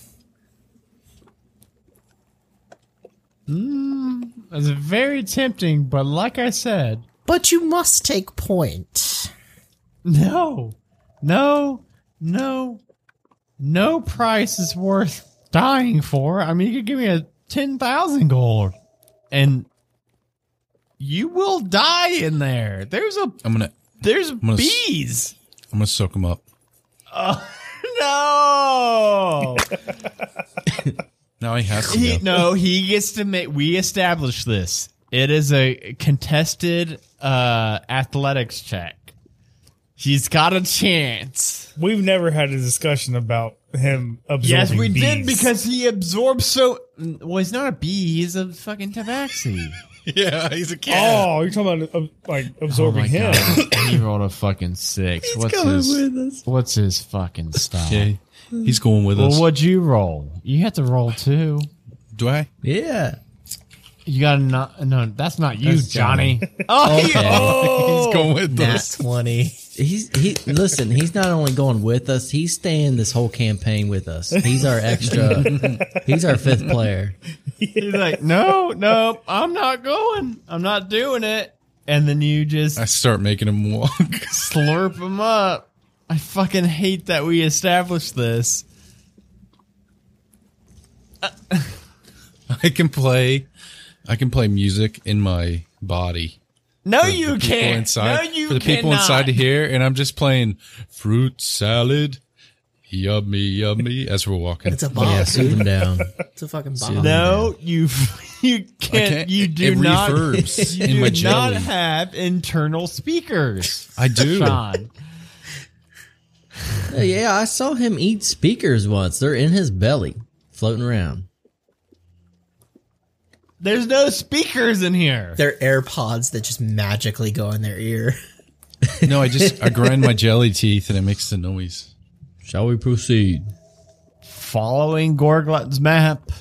[SPEAKER 1] it's very tempting. But like I said,
[SPEAKER 2] But you must take point.
[SPEAKER 1] no, no, no, no price is worth dying for. I mean, you could give me a ten thousand gold, and you will die in there. There's a
[SPEAKER 4] I'm gonna,
[SPEAKER 1] there's
[SPEAKER 4] gonna s-
[SPEAKER 1] bees.
[SPEAKER 4] I'm gonna soak him up.
[SPEAKER 1] No.
[SPEAKER 4] Now he has to.
[SPEAKER 1] He,
[SPEAKER 4] go.
[SPEAKER 1] no, he gets to make. We established this. It is a contested uh, athletics check. He's got a chance.
[SPEAKER 5] We've never had a discussion about him absorbing
[SPEAKER 1] yes, we did
[SPEAKER 5] bees.
[SPEAKER 1] because he absorbs so. Well, he's not a bee. He's a fucking tabaxi.
[SPEAKER 4] Yeah, he's a cat.
[SPEAKER 5] Oh, you're talking about uh,
[SPEAKER 3] Oh
[SPEAKER 5] like absorbing him.
[SPEAKER 1] Oh he rolled a fucking six. what's his? What's his fucking
[SPEAKER 3] Oh.
[SPEAKER 1] style?
[SPEAKER 4] Yeah, he's going with us.
[SPEAKER 1] Well, what'd you roll? You had to roll two.
[SPEAKER 4] Do I?
[SPEAKER 3] Yeah.
[SPEAKER 1] You got to not. No, that's not you,
[SPEAKER 4] That's
[SPEAKER 1] Johnny.
[SPEAKER 4] Johnny.
[SPEAKER 1] oh, he-
[SPEAKER 3] Okay.
[SPEAKER 1] oh,
[SPEAKER 4] He's going with
[SPEAKER 2] Nat
[SPEAKER 4] us.
[SPEAKER 2] 20.
[SPEAKER 3] He's he listen, he's not only going with us, he's staying this whole campaign with us. He's our extra he's our fifth player.
[SPEAKER 1] He's like, no, no, I'm not going. I'm not doing it. And then you just
[SPEAKER 4] I start making him walk.
[SPEAKER 1] slurp him up. I fucking hate that we established this.
[SPEAKER 4] I can play. I can play music in my body.
[SPEAKER 1] No, you
[SPEAKER 4] people
[SPEAKER 1] can't.
[SPEAKER 4] Inside,
[SPEAKER 1] no, you
[SPEAKER 4] for the people
[SPEAKER 1] cannot.
[SPEAKER 4] inside to hear, and I'm just playing fruit salad. Yummy, yummy. As we're walking,
[SPEAKER 2] It's a bomb.
[SPEAKER 3] Yeah, soothe him down.
[SPEAKER 2] It's a fucking
[SPEAKER 3] Soothe
[SPEAKER 2] bomb.
[SPEAKER 3] him down.
[SPEAKER 1] No, you you can't.
[SPEAKER 4] can't.
[SPEAKER 1] You
[SPEAKER 4] It-
[SPEAKER 1] do
[SPEAKER 4] it
[SPEAKER 1] not.
[SPEAKER 4] reverbs
[SPEAKER 1] you
[SPEAKER 4] in
[SPEAKER 1] do
[SPEAKER 4] my
[SPEAKER 1] not
[SPEAKER 4] jelly.
[SPEAKER 1] have internal speakers,
[SPEAKER 4] I do.
[SPEAKER 1] Sean.
[SPEAKER 3] Yeah, I saw him eat speakers once. They're in his belly, floating around.
[SPEAKER 1] There's no speakers in here.
[SPEAKER 2] They're AirPods that just magically go in their ear.
[SPEAKER 4] No, I just I grind my jelly teeth and it makes the noise.
[SPEAKER 3] Shall we proceed?
[SPEAKER 1] following Gorglut's map,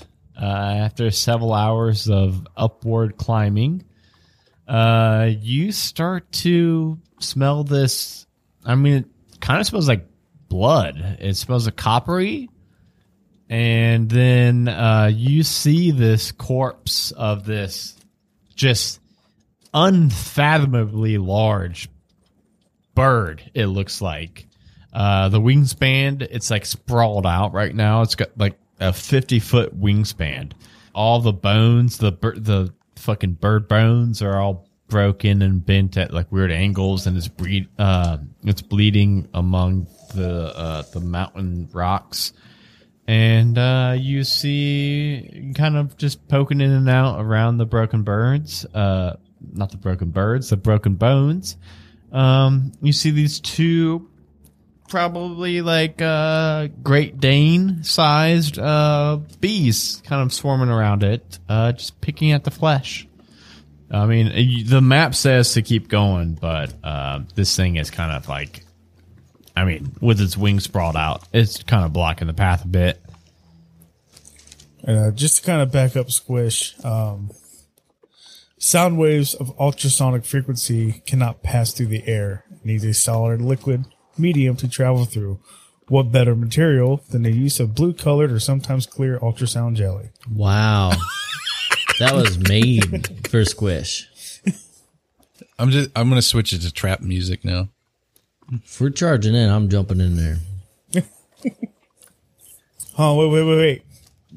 [SPEAKER 1] uh, after several hours of upward climbing, uh, you start to smell this. I mean, it kind of smells like blood. It smells like coppery. And then uh, you see this corpse of this just unfathomably large bird, it looks like. Uh, the wingspan, it's like sprawled out right now. It's got like a 50 foot wingspan. All the bones, the bir- the fucking bird bones are all broken and bent at like weird angles and it's breed uh it's bleeding among the uh the mountain rocks and uh you see kind of just poking in and out around the broken birds uh not the broken birds the broken bones um you see these two probably like uh great dane sized uh bees kind of swarming around it uh just picking at the flesh i mean you- the map says to keep going but uh this thing is kind of like i mean with its wings sprawled out it's kind of blocking the path a bit
[SPEAKER 5] And uh, just to kind of back up Squish, um, sound waves of ultrasonic frequency cannot pass through the air. It needs a solid or liquid medium to travel through. What better material than the use of blue colored or sometimes clear ultrasound jelly?
[SPEAKER 3] Wow. that was made for Squish.
[SPEAKER 4] I'm just I'm gonna switch it to trap music now.
[SPEAKER 3] If we're charging in, I'm jumping in there.
[SPEAKER 5] Oh, wait, wait, wait, wait.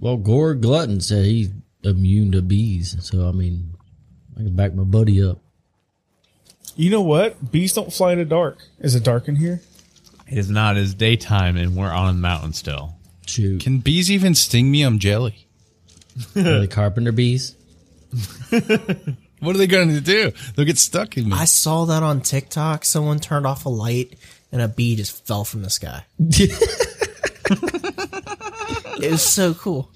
[SPEAKER 3] Well, Gore Glutton said he's immune to bees, so I mean, I can back my buddy up.
[SPEAKER 5] You know what? Bees don't fly in the dark. Is it dark in here?
[SPEAKER 1] it is not as daytime and we're on the mountain still
[SPEAKER 3] Shoot,
[SPEAKER 4] Can bees even sting me? I'm jelly.
[SPEAKER 3] Are they carpenter bees.
[SPEAKER 4] What are they gonna do? They'll get stuck in me.
[SPEAKER 2] I saw that on TikTok. Someone turned off a light and a bee just fell from the sky. It was so cool.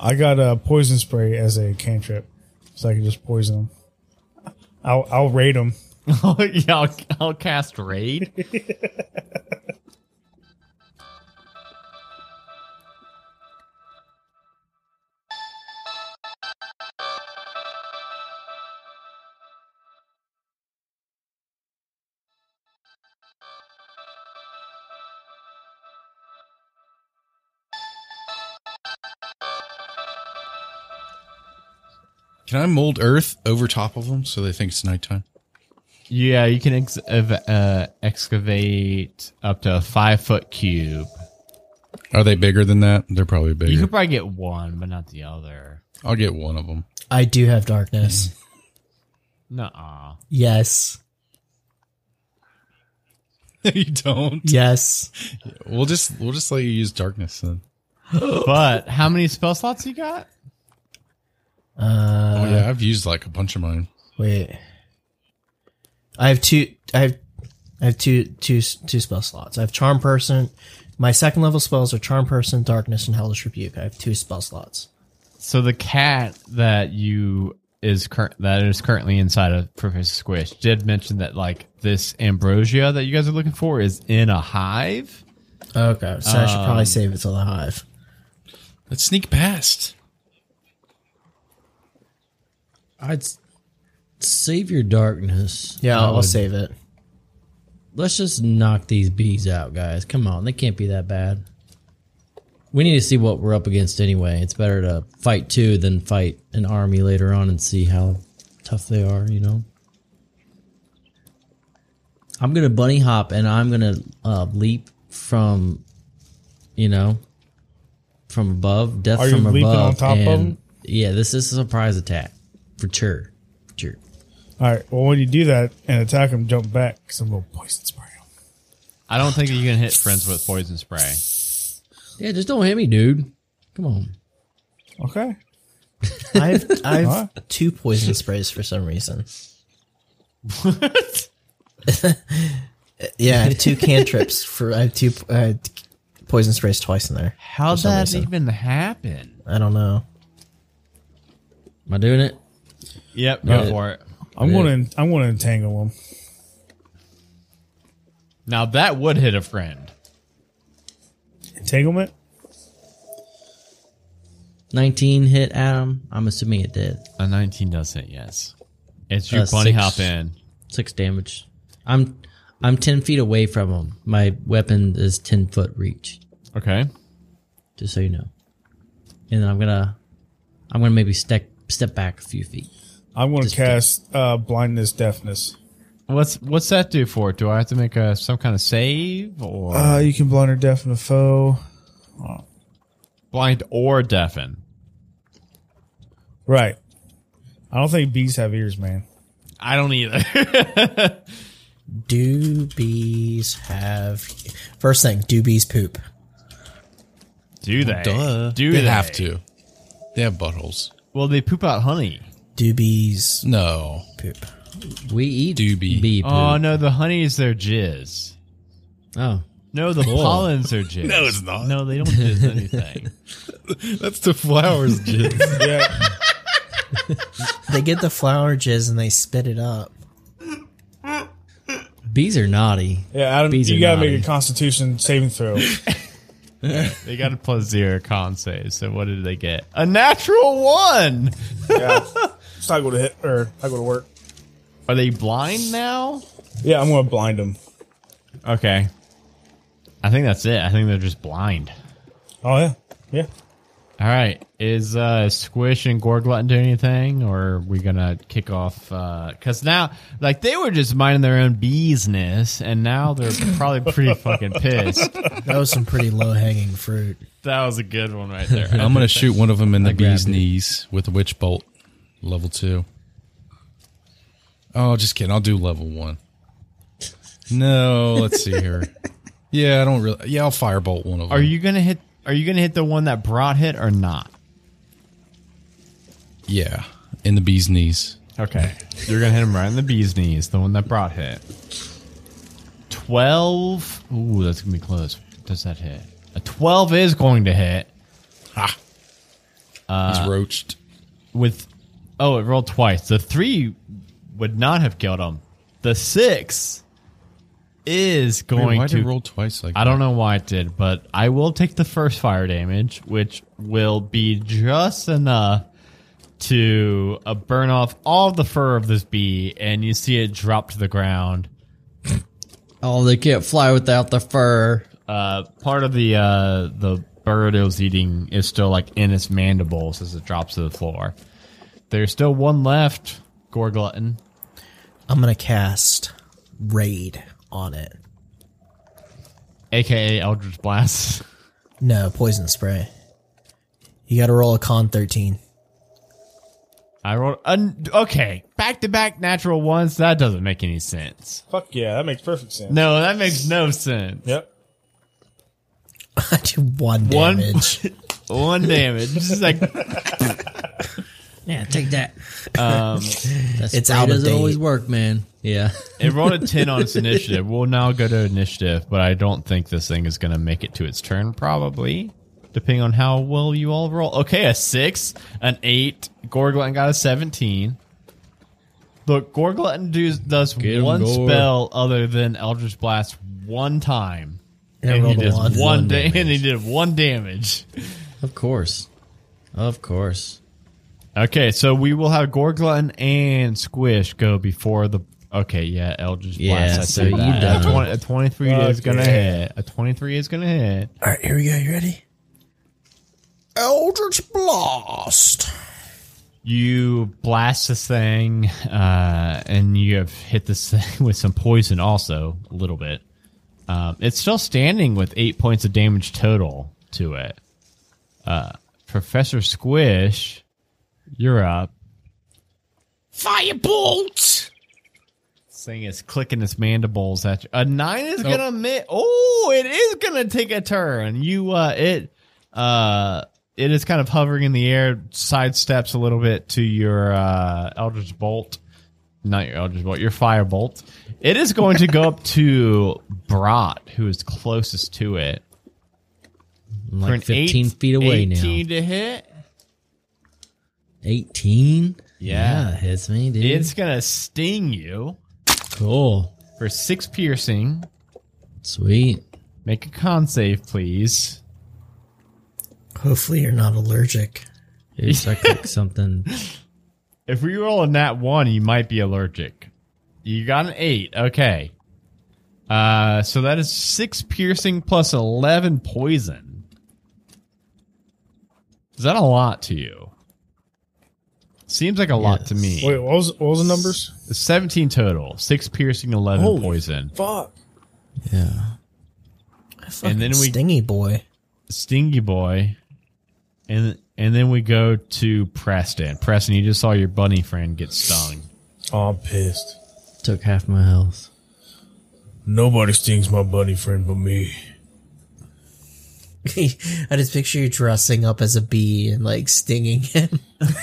[SPEAKER 5] I got a poison spray as a cantrip, so I can just poison them. I'll I'll raid them.
[SPEAKER 1] Oh, yeah I'll, I'll cast raid
[SPEAKER 4] Can I mold earth over top of them so they think it's nighttime?
[SPEAKER 1] Yeah, you can ex- ev- uh, excavate up to a five foot cube.
[SPEAKER 4] Are they bigger than that? They're probably
[SPEAKER 1] You
[SPEAKER 4] bigger.
[SPEAKER 1] could probably get one, but not the other.
[SPEAKER 4] I'll get one of them.
[SPEAKER 2] I do have darkness.
[SPEAKER 1] Nuh-uh.
[SPEAKER 2] Yes.
[SPEAKER 4] you don't.
[SPEAKER 2] Yes.
[SPEAKER 4] We'll just we'll just let you use darkness then.
[SPEAKER 1] But how many spell slots you got?
[SPEAKER 2] Uh,
[SPEAKER 4] Oh yeah, I've used like a bunch of mine.
[SPEAKER 2] Wait. I have two. I have. I have two, two, two spell slots. I have Charm Person. My second level spells are Charm Person, Darkness, and Hellish Rebuke. I have two spell slots.
[SPEAKER 1] So the cat that you is current that is currently inside of Professor Squish did mention that like this ambrosia that you guys are looking for is in a hive.
[SPEAKER 2] Okay, so I should probably save it till the hive.
[SPEAKER 4] Let's sneak past.
[SPEAKER 3] I'd s- save your darkness.
[SPEAKER 2] Yeah,
[SPEAKER 3] I
[SPEAKER 2] I'll,
[SPEAKER 3] would-
[SPEAKER 2] save it.
[SPEAKER 3] Let's just knock these bees out, guys. Come on, they can't be that bad. We need to see what we're up against anyway. It's better to fight two than fight an army later on and see how tough they are, you know? I'm going to bunny hop and I'm going to uh, leap from, you know, from above, death
[SPEAKER 5] Are you
[SPEAKER 3] from
[SPEAKER 5] leaping on
[SPEAKER 3] above.
[SPEAKER 5] top of
[SPEAKER 3] and-
[SPEAKER 5] them?
[SPEAKER 3] Yeah, this, this is a surprise attack. For sure. For sure.
[SPEAKER 5] All right. Well, when you do that and attack them, jump back because I'm going to poison spray 'em.
[SPEAKER 1] I don't think you can hit friends with poison spray.
[SPEAKER 3] Yeah, just don't hit me, dude. Come on.
[SPEAKER 5] Okay.
[SPEAKER 2] I have, I
[SPEAKER 5] Huh?
[SPEAKER 2] have two poison sprays for some reason. What? yeah, I have two cantrips for I have two uh, poison sprays twice in there.
[SPEAKER 1] How'd
[SPEAKER 2] For some
[SPEAKER 1] that
[SPEAKER 2] reason.
[SPEAKER 1] even happen?
[SPEAKER 2] I don't know.
[SPEAKER 3] Am I doing it?
[SPEAKER 1] Yep,
[SPEAKER 3] Uh,
[SPEAKER 1] go for it.
[SPEAKER 5] I'm going to I'm going to entangle them.
[SPEAKER 1] Now that would hit a friend.
[SPEAKER 5] Entanglement?
[SPEAKER 3] 19 hit Adam. I'm assuming it did.
[SPEAKER 1] A 19 does hit, yes. It's you
[SPEAKER 3] Uh,
[SPEAKER 1] bunny
[SPEAKER 3] six.
[SPEAKER 1] hop in.
[SPEAKER 3] Six damage. I'm I'm 10 feet away from him. My weapon is 10 foot reach.
[SPEAKER 1] Okay.
[SPEAKER 3] Just so you know. And then I'm gonna I'm gonna maybe step step back a few feet.
[SPEAKER 5] I'm going to
[SPEAKER 3] Just-
[SPEAKER 5] cast uh, blindness, deafness.
[SPEAKER 1] What's what's that do for? Do I have to make a some kind of save or
[SPEAKER 5] Uh, you can blind or deafen a foe.
[SPEAKER 1] blind or deafen?
[SPEAKER 5] Right. I don't think bees have ears, man.
[SPEAKER 1] I don't either.
[SPEAKER 2] Do bees have. First thing, do bees poop?
[SPEAKER 1] do they?
[SPEAKER 4] Duh.
[SPEAKER 1] Do
[SPEAKER 4] they
[SPEAKER 1] they
[SPEAKER 4] have to? They have buttholes.
[SPEAKER 1] Well, they poop out honey.
[SPEAKER 2] Do bees
[SPEAKER 4] No,
[SPEAKER 2] poop?
[SPEAKER 3] We eat
[SPEAKER 4] Doobie.
[SPEAKER 3] bee
[SPEAKER 1] Oh
[SPEAKER 3] poop.
[SPEAKER 1] no, the honey is their jizz.
[SPEAKER 3] Oh.
[SPEAKER 1] No, the pollens are jizz.
[SPEAKER 4] No, it's not.
[SPEAKER 1] No, they don't jizz anything.
[SPEAKER 4] that's the flowers. Jizz.
[SPEAKER 5] Yeah.
[SPEAKER 2] They get the flower jizz and they spit it up.
[SPEAKER 3] Bees are naughty.
[SPEAKER 5] yeah, Adam,
[SPEAKER 3] Bees
[SPEAKER 5] you
[SPEAKER 3] are
[SPEAKER 5] got to
[SPEAKER 3] naughty.
[SPEAKER 5] make a constitution saving throw.
[SPEAKER 1] they got a plus zero con save. So what did they get? A natural one.
[SPEAKER 5] yeah. It's not going to hit, or not going to work.
[SPEAKER 1] Are they blind now?
[SPEAKER 5] Yeah, I'm going to blind him.
[SPEAKER 1] Okay. I think that's it. I think they're just blind.
[SPEAKER 5] Oh, yeah. Yeah.
[SPEAKER 1] All right. Is uh, Squish and Gorglutton doing anything, or are we gonna kick off? Because now, like, they were just minding their own business, and now they're probably pretty fucking pissed.
[SPEAKER 2] That was some pretty low hanging fruit.
[SPEAKER 1] That was a good one right there.
[SPEAKER 4] I'm gonna shoot one of them in the bee's
[SPEAKER 3] grabbed it.
[SPEAKER 4] knees with a witch bolt, level two. Oh, just kidding. I'll do level one. No, let's see here. Yeah, I don't really. Yeah, I'll firebolt one of them.
[SPEAKER 1] Are you gonna hit? Are you gonna hit the one that brought hit or not?
[SPEAKER 4] Yeah, in the bee's knees.
[SPEAKER 1] Okay, you're gonna hit him right in the bee's knees, the one that brought hit. Twelve. Ooh, that's gonna be close. Does that hit? A twelve is going to hit
[SPEAKER 4] He's roached.
[SPEAKER 1] with. Oh, it rolled twice. The three would not have killed him. The six is
[SPEAKER 4] Wait,
[SPEAKER 1] going
[SPEAKER 4] why
[SPEAKER 1] to.
[SPEAKER 4] did it roll twice? Like
[SPEAKER 1] I don't know why it did, but I will take the first fire damage, which will be just enough to uh, burn off all the fur of this bee, and you see it drop to the ground.
[SPEAKER 3] Oh, they can't fly without the fur.
[SPEAKER 1] Uh, part of the uh, the bird it was eating is still like in its mandibles as it drops to the floor. There's still one left, Gorglutton.
[SPEAKER 2] I'm going to cast Raid on it.
[SPEAKER 1] aka Eldritch Blast.
[SPEAKER 2] No, poison spray. You got to roll a con 13.
[SPEAKER 1] I rolled. Un- okay, back to back natural ones. That doesn't make any sense.
[SPEAKER 5] Fuck yeah. That makes perfect sense.
[SPEAKER 1] No, that makes no sense.
[SPEAKER 5] Yep.
[SPEAKER 2] I do one
[SPEAKER 1] One-
[SPEAKER 2] damage.
[SPEAKER 1] One damage. This is like
[SPEAKER 3] Yeah, take that. Um, That's
[SPEAKER 2] It's out of
[SPEAKER 3] doesn't
[SPEAKER 2] date.
[SPEAKER 3] always work, man. Yeah.
[SPEAKER 1] it rolled a ten on its initiative. We'll now go to initiative, but I don't think this thing is going to make it to its turn. Probably, depending on how well you all roll. Okay, a six, an eight. Gorglutton got a seventeen. Look, Gorglutton does, does
[SPEAKER 3] Get 'em,
[SPEAKER 1] one
[SPEAKER 3] Gor.
[SPEAKER 1] spell other than Eldritch Blast one time,
[SPEAKER 2] And I
[SPEAKER 1] and he
[SPEAKER 2] rolled a
[SPEAKER 1] did
[SPEAKER 2] one.
[SPEAKER 1] one,
[SPEAKER 3] One
[SPEAKER 1] da-
[SPEAKER 3] damage.
[SPEAKER 1] and he did one damage.
[SPEAKER 3] Of course. Of course.
[SPEAKER 1] Okay, so we will have Gorglun and Squish go before the. Okay, yeah, Eldritch Blast.
[SPEAKER 3] Yeah,
[SPEAKER 1] I
[SPEAKER 3] so
[SPEAKER 1] said
[SPEAKER 3] you
[SPEAKER 1] that.
[SPEAKER 3] done.
[SPEAKER 1] A, 20, a 23 is
[SPEAKER 5] Fuck
[SPEAKER 1] going to
[SPEAKER 5] yeah.
[SPEAKER 1] hit. A 23 is going to hit.
[SPEAKER 2] All right, here we go. You ready? Eldritch Blast.
[SPEAKER 1] You blast this thing, uh, and you have hit this thing with some poison also, a little bit. Um, it's still standing with eight points of damage total to it. Uh, Professor Squish, you're up.
[SPEAKER 4] Firebolt.
[SPEAKER 1] This thing is clicking its mandibles at you. A nine is gonna mi Oh, it is gonna take a turn. You, uh, it, uh, it is kind of hovering in the air, sidesteps a little bit to your uh, Eldritch Bolt. Not your Eldritch Bolt, your Fire Bolt. It is going to go up to Brat, who is closest to it.
[SPEAKER 3] I'm
[SPEAKER 1] For an
[SPEAKER 3] like 15
[SPEAKER 1] eight-
[SPEAKER 3] feet away
[SPEAKER 1] 18
[SPEAKER 3] now.
[SPEAKER 1] to hit.
[SPEAKER 3] 18?
[SPEAKER 1] Yeah.
[SPEAKER 3] that hits me, dude.
[SPEAKER 1] It's gonna sting you
[SPEAKER 3] cool.
[SPEAKER 1] for six piercing.
[SPEAKER 3] Sweet.
[SPEAKER 1] Make a con save, please.
[SPEAKER 2] Hopefully, you're not allergic.
[SPEAKER 3] Oops, I clicked something.
[SPEAKER 1] If we roll a nat one, you might be allergic. You got an eight. Okay. Uh, so that is six piercing plus 11 poison. Is that a lot to you? Seems like a lot to me.
[SPEAKER 5] Wait, what was what was the numbers?
[SPEAKER 1] 17 total. Six piercing, 11
[SPEAKER 5] Holy
[SPEAKER 1] poison.
[SPEAKER 5] Fuck.
[SPEAKER 3] Yeah.
[SPEAKER 1] And then we-
[SPEAKER 2] stingy boy.
[SPEAKER 1] Stingy boy. And and then we go to Preston. Preston, you just saw your bunny friend get stung.
[SPEAKER 5] Oh, I'm pissed.
[SPEAKER 3] Took half my health.
[SPEAKER 5] Nobody stings my bunny friend but me.
[SPEAKER 2] I just picture you dressing up as a bee and like stinging him.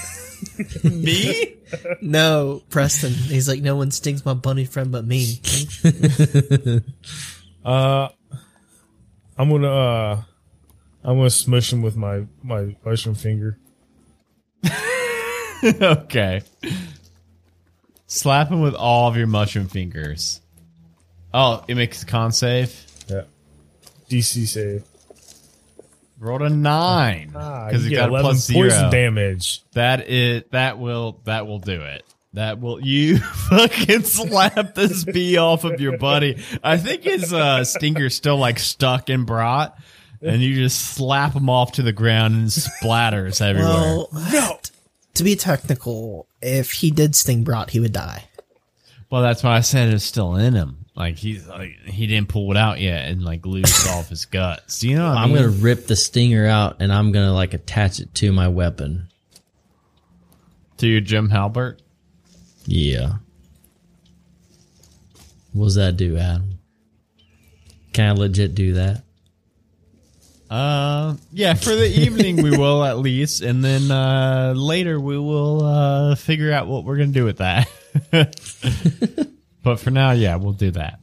[SPEAKER 1] Me?
[SPEAKER 2] No, Preston. He's like, no one stings my bunny friend but me.
[SPEAKER 5] I'm gonna uh I'm gonna smush him with my my mushroom finger.
[SPEAKER 1] okay. Slap him with all of your mushroom fingers. Oh, it makes a con save.
[SPEAKER 5] Yeah. DC save.
[SPEAKER 1] Rolled a nine
[SPEAKER 5] Ah,
[SPEAKER 1] because
[SPEAKER 5] you
[SPEAKER 1] you
[SPEAKER 5] get
[SPEAKER 1] got a
[SPEAKER 5] 11
[SPEAKER 1] plus zero.
[SPEAKER 5] poison damage.
[SPEAKER 1] That is that will that will do it. That will you fucking slap this bee off of your buddy. I think his uh, stinger's still like stuck in Brat, and you just slap him off to the ground and splatters everywhere.
[SPEAKER 2] Well, no. To be technical, if he did sting Brat, he would die.
[SPEAKER 1] Well, that's why I said it's still in him. Like he's like he didn't pull it out yet and like loose off his guts. You know what I
[SPEAKER 3] I'm
[SPEAKER 1] mean?
[SPEAKER 3] gonna rip the stinger out and I'm gonna like attach it to my weapon.
[SPEAKER 1] to your Jim Halbert.
[SPEAKER 3] Yeah. What does that do, Adam? Can I legit do that?
[SPEAKER 1] Uh, yeah, for the evening we will at least, and then uh, later we will uh, figure out what we're gonna do with that. but for now, yeah, we'll do that.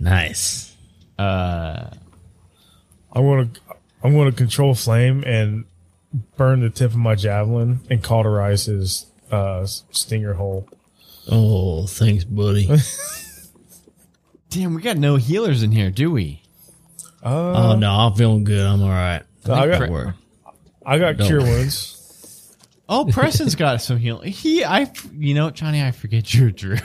[SPEAKER 3] Nice.
[SPEAKER 5] I'm gonna I'm gonna control flame and burn the tip of my javelin and cauterize his uh stinger hole.
[SPEAKER 3] Oh, thanks, buddy.
[SPEAKER 1] Damn, we got no healers in here, do we?
[SPEAKER 3] oh no, I'm feeling good. I'm all right.
[SPEAKER 5] I got-
[SPEAKER 3] Don't worry.
[SPEAKER 5] I got
[SPEAKER 3] Don't.
[SPEAKER 5] cure wounds.
[SPEAKER 1] Oh, Preston's got some heal. He, I, f- you know, Johnny, I forget you're Drew.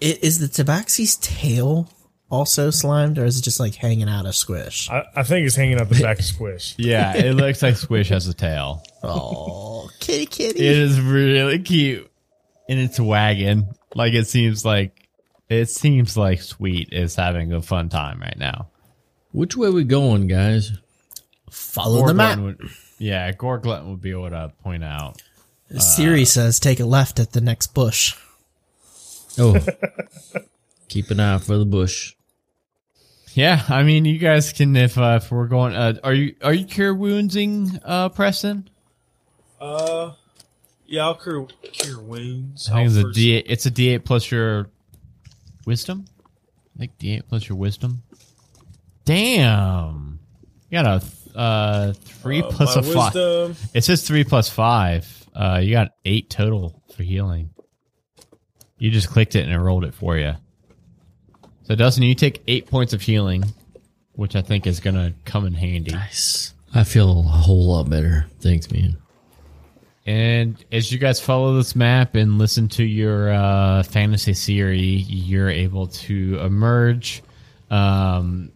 [SPEAKER 2] It, is the Tabaxi's tail also slimed, or is it just like hanging out of Squish?
[SPEAKER 5] I, I think it's hanging out the back of Squish.
[SPEAKER 1] yeah, it looks like Squish has a tail.
[SPEAKER 2] Oh, kitty, kitty.
[SPEAKER 1] It is really cute, and it's a wagon. Like it seems like it seems like Sweet is having a fun time right now.
[SPEAKER 3] Which way we going, guys?
[SPEAKER 2] Follow the map.
[SPEAKER 1] Gorglunt Would, yeah, Gorglunt would be able to point out. uh,
[SPEAKER 2] Siri says, take a left at the next bush.
[SPEAKER 3] Oh, keep an eye for the bush.
[SPEAKER 1] Yeah, I mean, you guys can if uh, if we're going. Uh, are you are you cure wounding, uh, Preston?
[SPEAKER 6] Uh, Yeah, I'll cure, cure wounds.
[SPEAKER 1] I think it's
[SPEAKER 6] I'll
[SPEAKER 1] a
[SPEAKER 6] first-
[SPEAKER 1] d eight. It's a d eight plus your wisdom. I think d eight plus your wisdom. Damn, you got a th- uh three
[SPEAKER 6] uh,
[SPEAKER 1] plus
[SPEAKER 6] my
[SPEAKER 1] a five.
[SPEAKER 6] wisdom.
[SPEAKER 1] It says three plus five. Uh, you got eight total for healing. You just clicked it and it rolled it for you. So Dustin, you take eight points of healing, which I think is gonna come in handy.
[SPEAKER 3] Nice. I feel a whole lot better. Thanks, man.
[SPEAKER 1] And as you guys follow this map and listen to your uh, fantasy series, you're able to emerge um,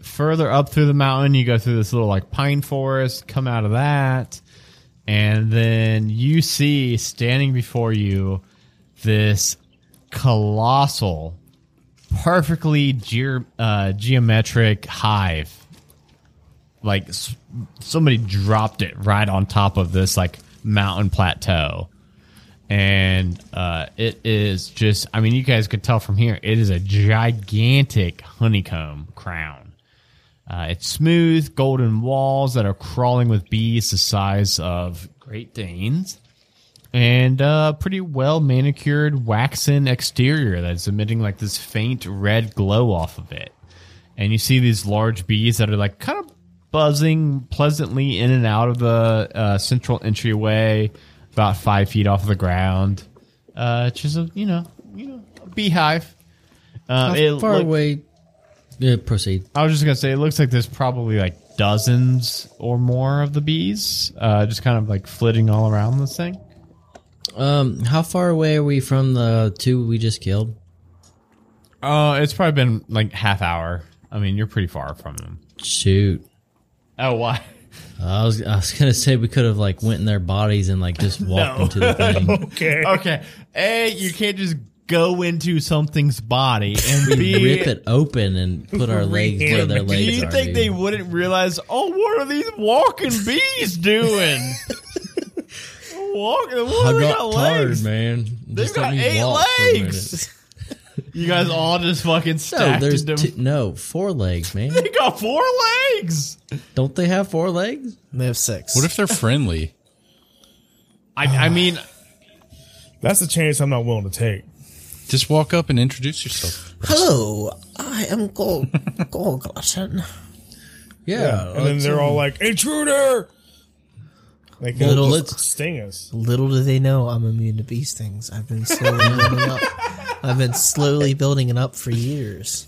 [SPEAKER 1] further up through the mountain. You go through this little like pine forest, come out of that, and then you see standing before you this colossal, perfectly gear uh, geometric hive. Like s- somebody dropped it right on top of this like mountain plateau and uh, it is just i mean you guys could tell from here it is a gigantic honeycomb crown uh, it's smooth golden walls that are crawling with bees the size of great danes and uh, pretty well manicured waxen exterior that's emitting like this faint red glow off of it and you see these large bees that are like kind of buzzing pleasantly in and out of the uh, central entryway, about five feet off the ground. Uh, it's just a you know you know a beehive, Uh,
[SPEAKER 3] How
[SPEAKER 1] it
[SPEAKER 3] far
[SPEAKER 1] look-
[SPEAKER 3] away? Yeah, proceed.
[SPEAKER 1] I was just gonna say, it looks like there's probably like dozens or more of the bees, uh, just kind of like flitting all around this thing.
[SPEAKER 3] Um, how far away are we from the two we just killed?
[SPEAKER 1] Uh, it's probably been like half hour. I mean, you're pretty far from them.
[SPEAKER 3] Shoot,
[SPEAKER 1] Oh, why?
[SPEAKER 3] I was I was gonna say we could have like went in their bodies and like just walked into the thing.
[SPEAKER 5] Okay.
[SPEAKER 1] Okay, a you can't just go into something's body and
[SPEAKER 3] We
[SPEAKER 1] b
[SPEAKER 3] rip it open and put our legs where their
[SPEAKER 1] Do
[SPEAKER 3] legs
[SPEAKER 1] you
[SPEAKER 3] are.
[SPEAKER 1] think
[SPEAKER 3] dude.
[SPEAKER 1] they wouldn't realize? Oh, what are these walking bees doing? Walking, what
[SPEAKER 3] I
[SPEAKER 1] do they
[SPEAKER 3] got
[SPEAKER 1] got
[SPEAKER 3] tired,
[SPEAKER 1] legs?
[SPEAKER 3] man.
[SPEAKER 1] They've
[SPEAKER 3] Just let
[SPEAKER 1] got
[SPEAKER 3] me
[SPEAKER 1] eight
[SPEAKER 3] walk for a minute.
[SPEAKER 1] legs. You guys all just fucking
[SPEAKER 3] No,
[SPEAKER 1] stacked
[SPEAKER 3] there's
[SPEAKER 1] them.
[SPEAKER 3] two, no four legs, man.
[SPEAKER 1] they got four legs.
[SPEAKER 3] Don't they have four legs?
[SPEAKER 2] They have six.
[SPEAKER 4] What if they're friendly?
[SPEAKER 1] I, I mean,
[SPEAKER 5] That's a chance I'm not willing to take.
[SPEAKER 4] Just walk up and introduce yourself.
[SPEAKER 2] Hello, I am Gol Golglutton.
[SPEAKER 3] Yeah.
[SPEAKER 5] and then they're all like, intruder! Like,
[SPEAKER 3] Little-
[SPEAKER 5] it'll
[SPEAKER 3] let's-
[SPEAKER 5] just sting us.
[SPEAKER 2] Little do they know I'm immune to these things. I've been slowly building up. I've been slowly building it up for years.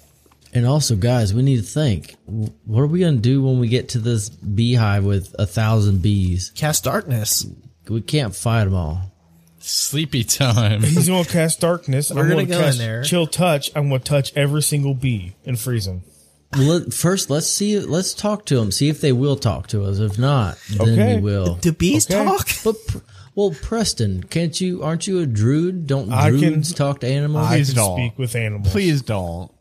[SPEAKER 3] And also, guys, we need to think. W- What are we gonna do when we get to this beehive with a thousand bees?
[SPEAKER 2] Cast darkness.
[SPEAKER 3] We can't fight them all.
[SPEAKER 4] Sleepy time.
[SPEAKER 5] He's going to cast darkness.
[SPEAKER 2] We're
[SPEAKER 5] I'm
[SPEAKER 2] gonna
[SPEAKER 5] gonna
[SPEAKER 2] go in
[SPEAKER 5] cast
[SPEAKER 2] there.
[SPEAKER 5] Chill touch. I'm going to touch every single bee and freeze them.
[SPEAKER 3] Well, let, first, let's see. Let's talk to them. See if they will talk to us. If not, then
[SPEAKER 5] Okay.
[SPEAKER 1] Oh.
[SPEAKER 3] we will.
[SPEAKER 2] Do bees
[SPEAKER 5] Okay.
[SPEAKER 2] talk?
[SPEAKER 3] But pr- well, Preston, can't you? Aren't you a druid? Don't
[SPEAKER 5] I can-
[SPEAKER 3] druids talk to animals?
[SPEAKER 5] I
[SPEAKER 1] Please
[SPEAKER 5] can
[SPEAKER 1] don't.
[SPEAKER 5] speak with animals.
[SPEAKER 1] please don't.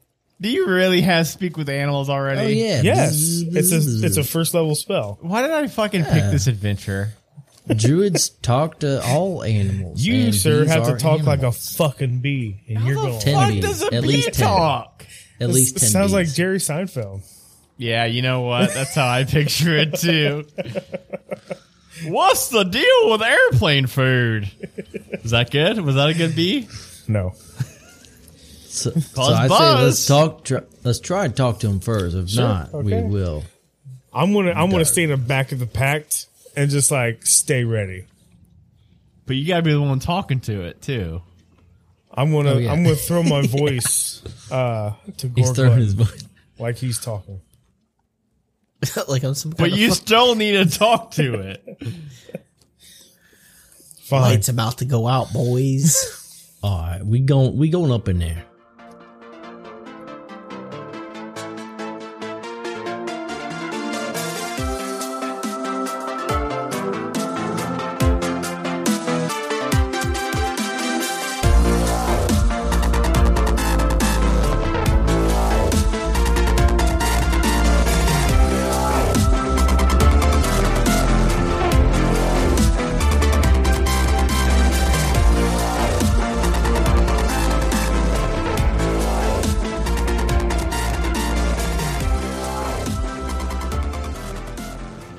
[SPEAKER 1] Do you really have to speak with animals already?
[SPEAKER 3] oh yeah.
[SPEAKER 5] Yes. It's a, it's a first level spell.
[SPEAKER 1] Why did I fucking pick this adventure?
[SPEAKER 3] druids talk to all animals.
[SPEAKER 5] You,
[SPEAKER 3] and
[SPEAKER 5] sir,
[SPEAKER 3] bees
[SPEAKER 5] have to
[SPEAKER 3] are
[SPEAKER 5] talk like a
[SPEAKER 3] animals.
[SPEAKER 5] fucking bee. And you're going.
[SPEAKER 3] Ten
[SPEAKER 1] What
[SPEAKER 3] bees.
[SPEAKER 1] does a
[SPEAKER 3] At
[SPEAKER 1] bee
[SPEAKER 3] least ten.
[SPEAKER 1] talk?
[SPEAKER 3] At least
[SPEAKER 5] It
[SPEAKER 3] ten.
[SPEAKER 5] sounds like
[SPEAKER 3] bees.
[SPEAKER 5] Jerry Seinfeld.
[SPEAKER 1] Yeah, you know what? That's how I picture it too. What's the deal with airplane food? Is that good? Was that a good bee?
[SPEAKER 5] No.
[SPEAKER 3] So, so
[SPEAKER 1] Buzz,
[SPEAKER 3] I say
[SPEAKER 1] buzz.
[SPEAKER 3] let's talk. Tr- let's try and talk to him first. If not,
[SPEAKER 5] okay.
[SPEAKER 3] we will.
[SPEAKER 5] I'm gonna I'm gonna stay in the back of the pact and just like stay ready.
[SPEAKER 1] But you gotta be the one talking to it too.
[SPEAKER 5] I'm gonna
[SPEAKER 3] Oh, yeah.
[SPEAKER 5] I'm gonna throw my voice uh to
[SPEAKER 3] He's throwing his
[SPEAKER 5] Gorgon
[SPEAKER 3] voice.
[SPEAKER 5] like he's talking.
[SPEAKER 2] like I'm some kind
[SPEAKER 1] But
[SPEAKER 2] of
[SPEAKER 1] you
[SPEAKER 2] fucking
[SPEAKER 1] still need to talk to it.
[SPEAKER 5] Fine.
[SPEAKER 2] light's about to go out, boys.
[SPEAKER 3] All right, we going we going up in there.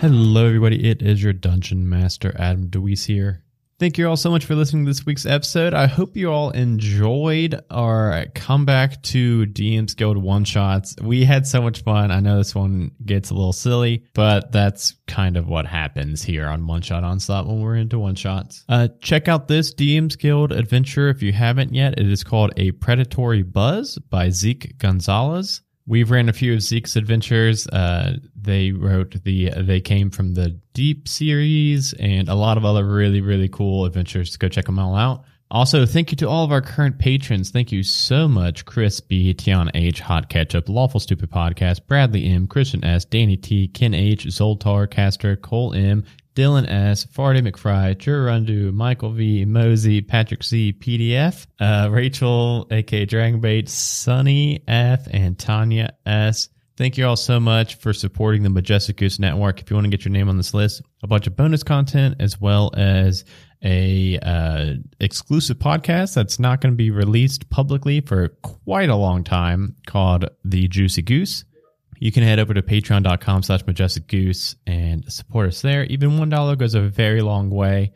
[SPEAKER 1] Hello, everybody. It is your Dungeon Master, Adam Deweese here. Thank you all so much for listening to this week's episode. I hope you all enjoyed our comeback to DM's Guild one shots. We had so much fun. I know this one gets a little silly, but that's kind of what happens here on One Shot Onslaught when we're into one shots. Uh, check out this DM's Guild adventure if you haven't yet. It is called A Predatory Buzz by Zeke Gonzalez. We've ran a few of Zeke's adventures. Uh, they wrote the They Came from the Deep series and a lot of other really, really cool adventures. Go check them all out. Also, thank you to all of our current patrons. Thank you so much, Chris B, Tion H, Hot Ketchup, Lawful Stupid Podcast, Bradley M, Christian S, Danny T, Ken H, Zoltar, Caster, Cole M, Dylan S, Farty McFry, Jurundu, Michael V, Mosey, Patrick Z, PDF, uh, Rachel, aka Dragonbait, Sunny F, and Tanya S. Thank you all so much for supporting the Majestic Goose Network. If you want to get your name on this list, a bunch of bonus content as well as a uh, exclusive podcast that's not going to be released publicly for quite a long time called The Juicy Goose you can head over to patreon.com slash majestic goose and support us there even one dollar goes a very long way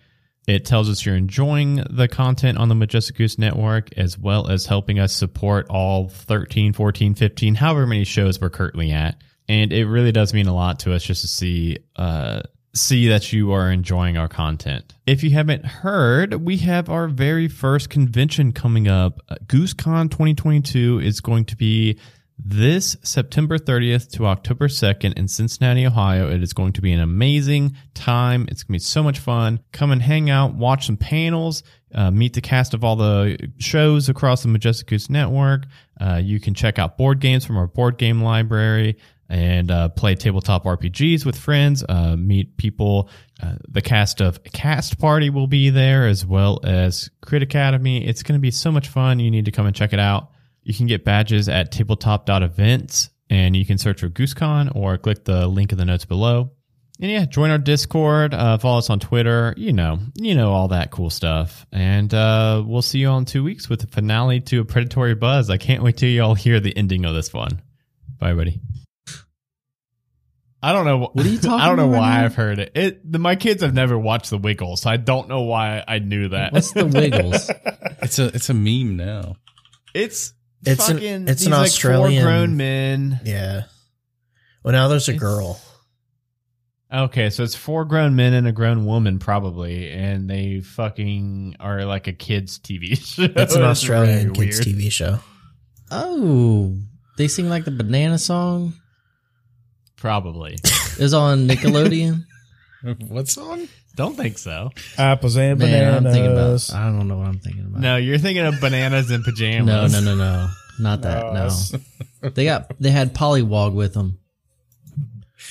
[SPEAKER 1] it tells us you're enjoying the content on the majestic goose network as well as helping us support all 13 14 15 however many shows we're currently at and it really does mean a lot to us just to see uh see that you are enjoying our content. If you haven't heard, we have our very first convention coming up. Uh, GooseCon 2022 is going to be this September 30th to October 2nd in Cincinnati, Ohio. It is going to be an amazing time. It's going to be so much fun. Come and hang out, watch some panels, uh, meet the cast of all the shows across the Majestic Goose Network. Uh, you can check out board games from our board game library and uh, play tabletop RPGs with friends, uh, meet people. Uh, the cast of Cast Party will be there as well as Crit Academy. It's going to be so much fun. You need to come and check it out. You can get badges at tabletop.events and you can search for GooseCon or click the link in the notes below. And yeah, join our Discord, uh, follow us on Twitter, you know, you know, all that cool stuff. And uh, we'll see you all in two weeks with the finale to A Predatory Buzz. I can't wait till you all hear the ending of this one. Bye, buddy. I don't know. wh-
[SPEAKER 3] What are you talking
[SPEAKER 1] I don't know
[SPEAKER 3] about
[SPEAKER 1] why
[SPEAKER 3] now?
[SPEAKER 1] I've heard it. It the, my kids have never watched The Wiggles, so I don't know why I knew that.
[SPEAKER 3] What's the Wiggles?
[SPEAKER 4] It's a it's a meme now.
[SPEAKER 1] It's
[SPEAKER 2] It's an-
[SPEAKER 1] fucking
[SPEAKER 2] it's an
[SPEAKER 1] these, like,
[SPEAKER 2] Australian-
[SPEAKER 1] four grown men.
[SPEAKER 2] Yeah. Well, now there's a
[SPEAKER 1] It's-
[SPEAKER 2] girl.
[SPEAKER 1] Okay, so it's four grown men and a grown woman probably, and they fucking are like a kids TV show.
[SPEAKER 2] It's an
[SPEAKER 1] very
[SPEAKER 2] Australian kids
[SPEAKER 1] weird.
[SPEAKER 2] TV show.
[SPEAKER 3] Oh, they sing like the banana song.
[SPEAKER 1] Probably.
[SPEAKER 3] Is on Nickelodeon.
[SPEAKER 4] What song?
[SPEAKER 1] Don't think so.
[SPEAKER 5] Apples and
[SPEAKER 3] Man, I'm
[SPEAKER 5] bananas.
[SPEAKER 3] thinking about. I don't know what I'm thinking about.
[SPEAKER 1] No, you're thinking of bananas and
[SPEAKER 3] no,
[SPEAKER 1] pajamas.
[SPEAKER 3] no, no, no, not that. No,
[SPEAKER 5] that's-
[SPEAKER 3] they got they had Pollywog with them.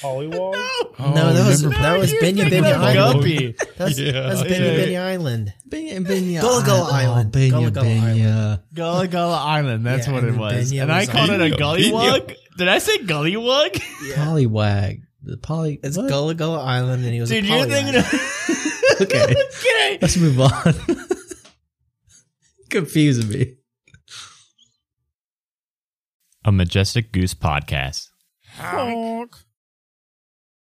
[SPEAKER 5] Hollywog.
[SPEAKER 4] Oh,
[SPEAKER 2] no, that was
[SPEAKER 4] remember-
[SPEAKER 2] that was
[SPEAKER 1] you're
[SPEAKER 2] Benya
[SPEAKER 1] thinking
[SPEAKER 2] Benya
[SPEAKER 1] of
[SPEAKER 2] Island.
[SPEAKER 1] Guppy.
[SPEAKER 2] That's,
[SPEAKER 4] Yeah.
[SPEAKER 2] that's Benya
[SPEAKER 1] Yeah.
[SPEAKER 2] Benya Island.
[SPEAKER 3] Benya, Benya,
[SPEAKER 2] Gullah Gullah Island.
[SPEAKER 3] Benya,
[SPEAKER 2] Gullah Gullah
[SPEAKER 3] Benya.
[SPEAKER 1] Gullah Gullah Island, that's
[SPEAKER 2] Yeah,
[SPEAKER 1] what
[SPEAKER 2] and
[SPEAKER 1] it
[SPEAKER 2] then
[SPEAKER 1] was.
[SPEAKER 2] Benya
[SPEAKER 1] And I
[SPEAKER 2] was
[SPEAKER 1] called
[SPEAKER 2] on-
[SPEAKER 1] it a
[SPEAKER 4] Benya,
[SPEAKER 1] gullywug. Did I say gullywug?
[SPEAKER 3] Pollywag. The poly.
[SPEAKER 2] It's
[SPEAKER 3] what?
[SPEAKER 2] Gullah Gullah Island, and he was
[SPEAKER 1] Dude,
[SPEAKER 2] a
[SPEAKER 1] you're
[SPEAKER 2] polywack.
[SPEAKER 1] thinking of
[SPEAKER 3] Okay.
[SPEAKER 1] Okay.
[SPEAKER 3] Let's move on. Confusing me.
[SPEAKER 1] A Majestic Goose Podcast.
[SPEAKER 5] Honk.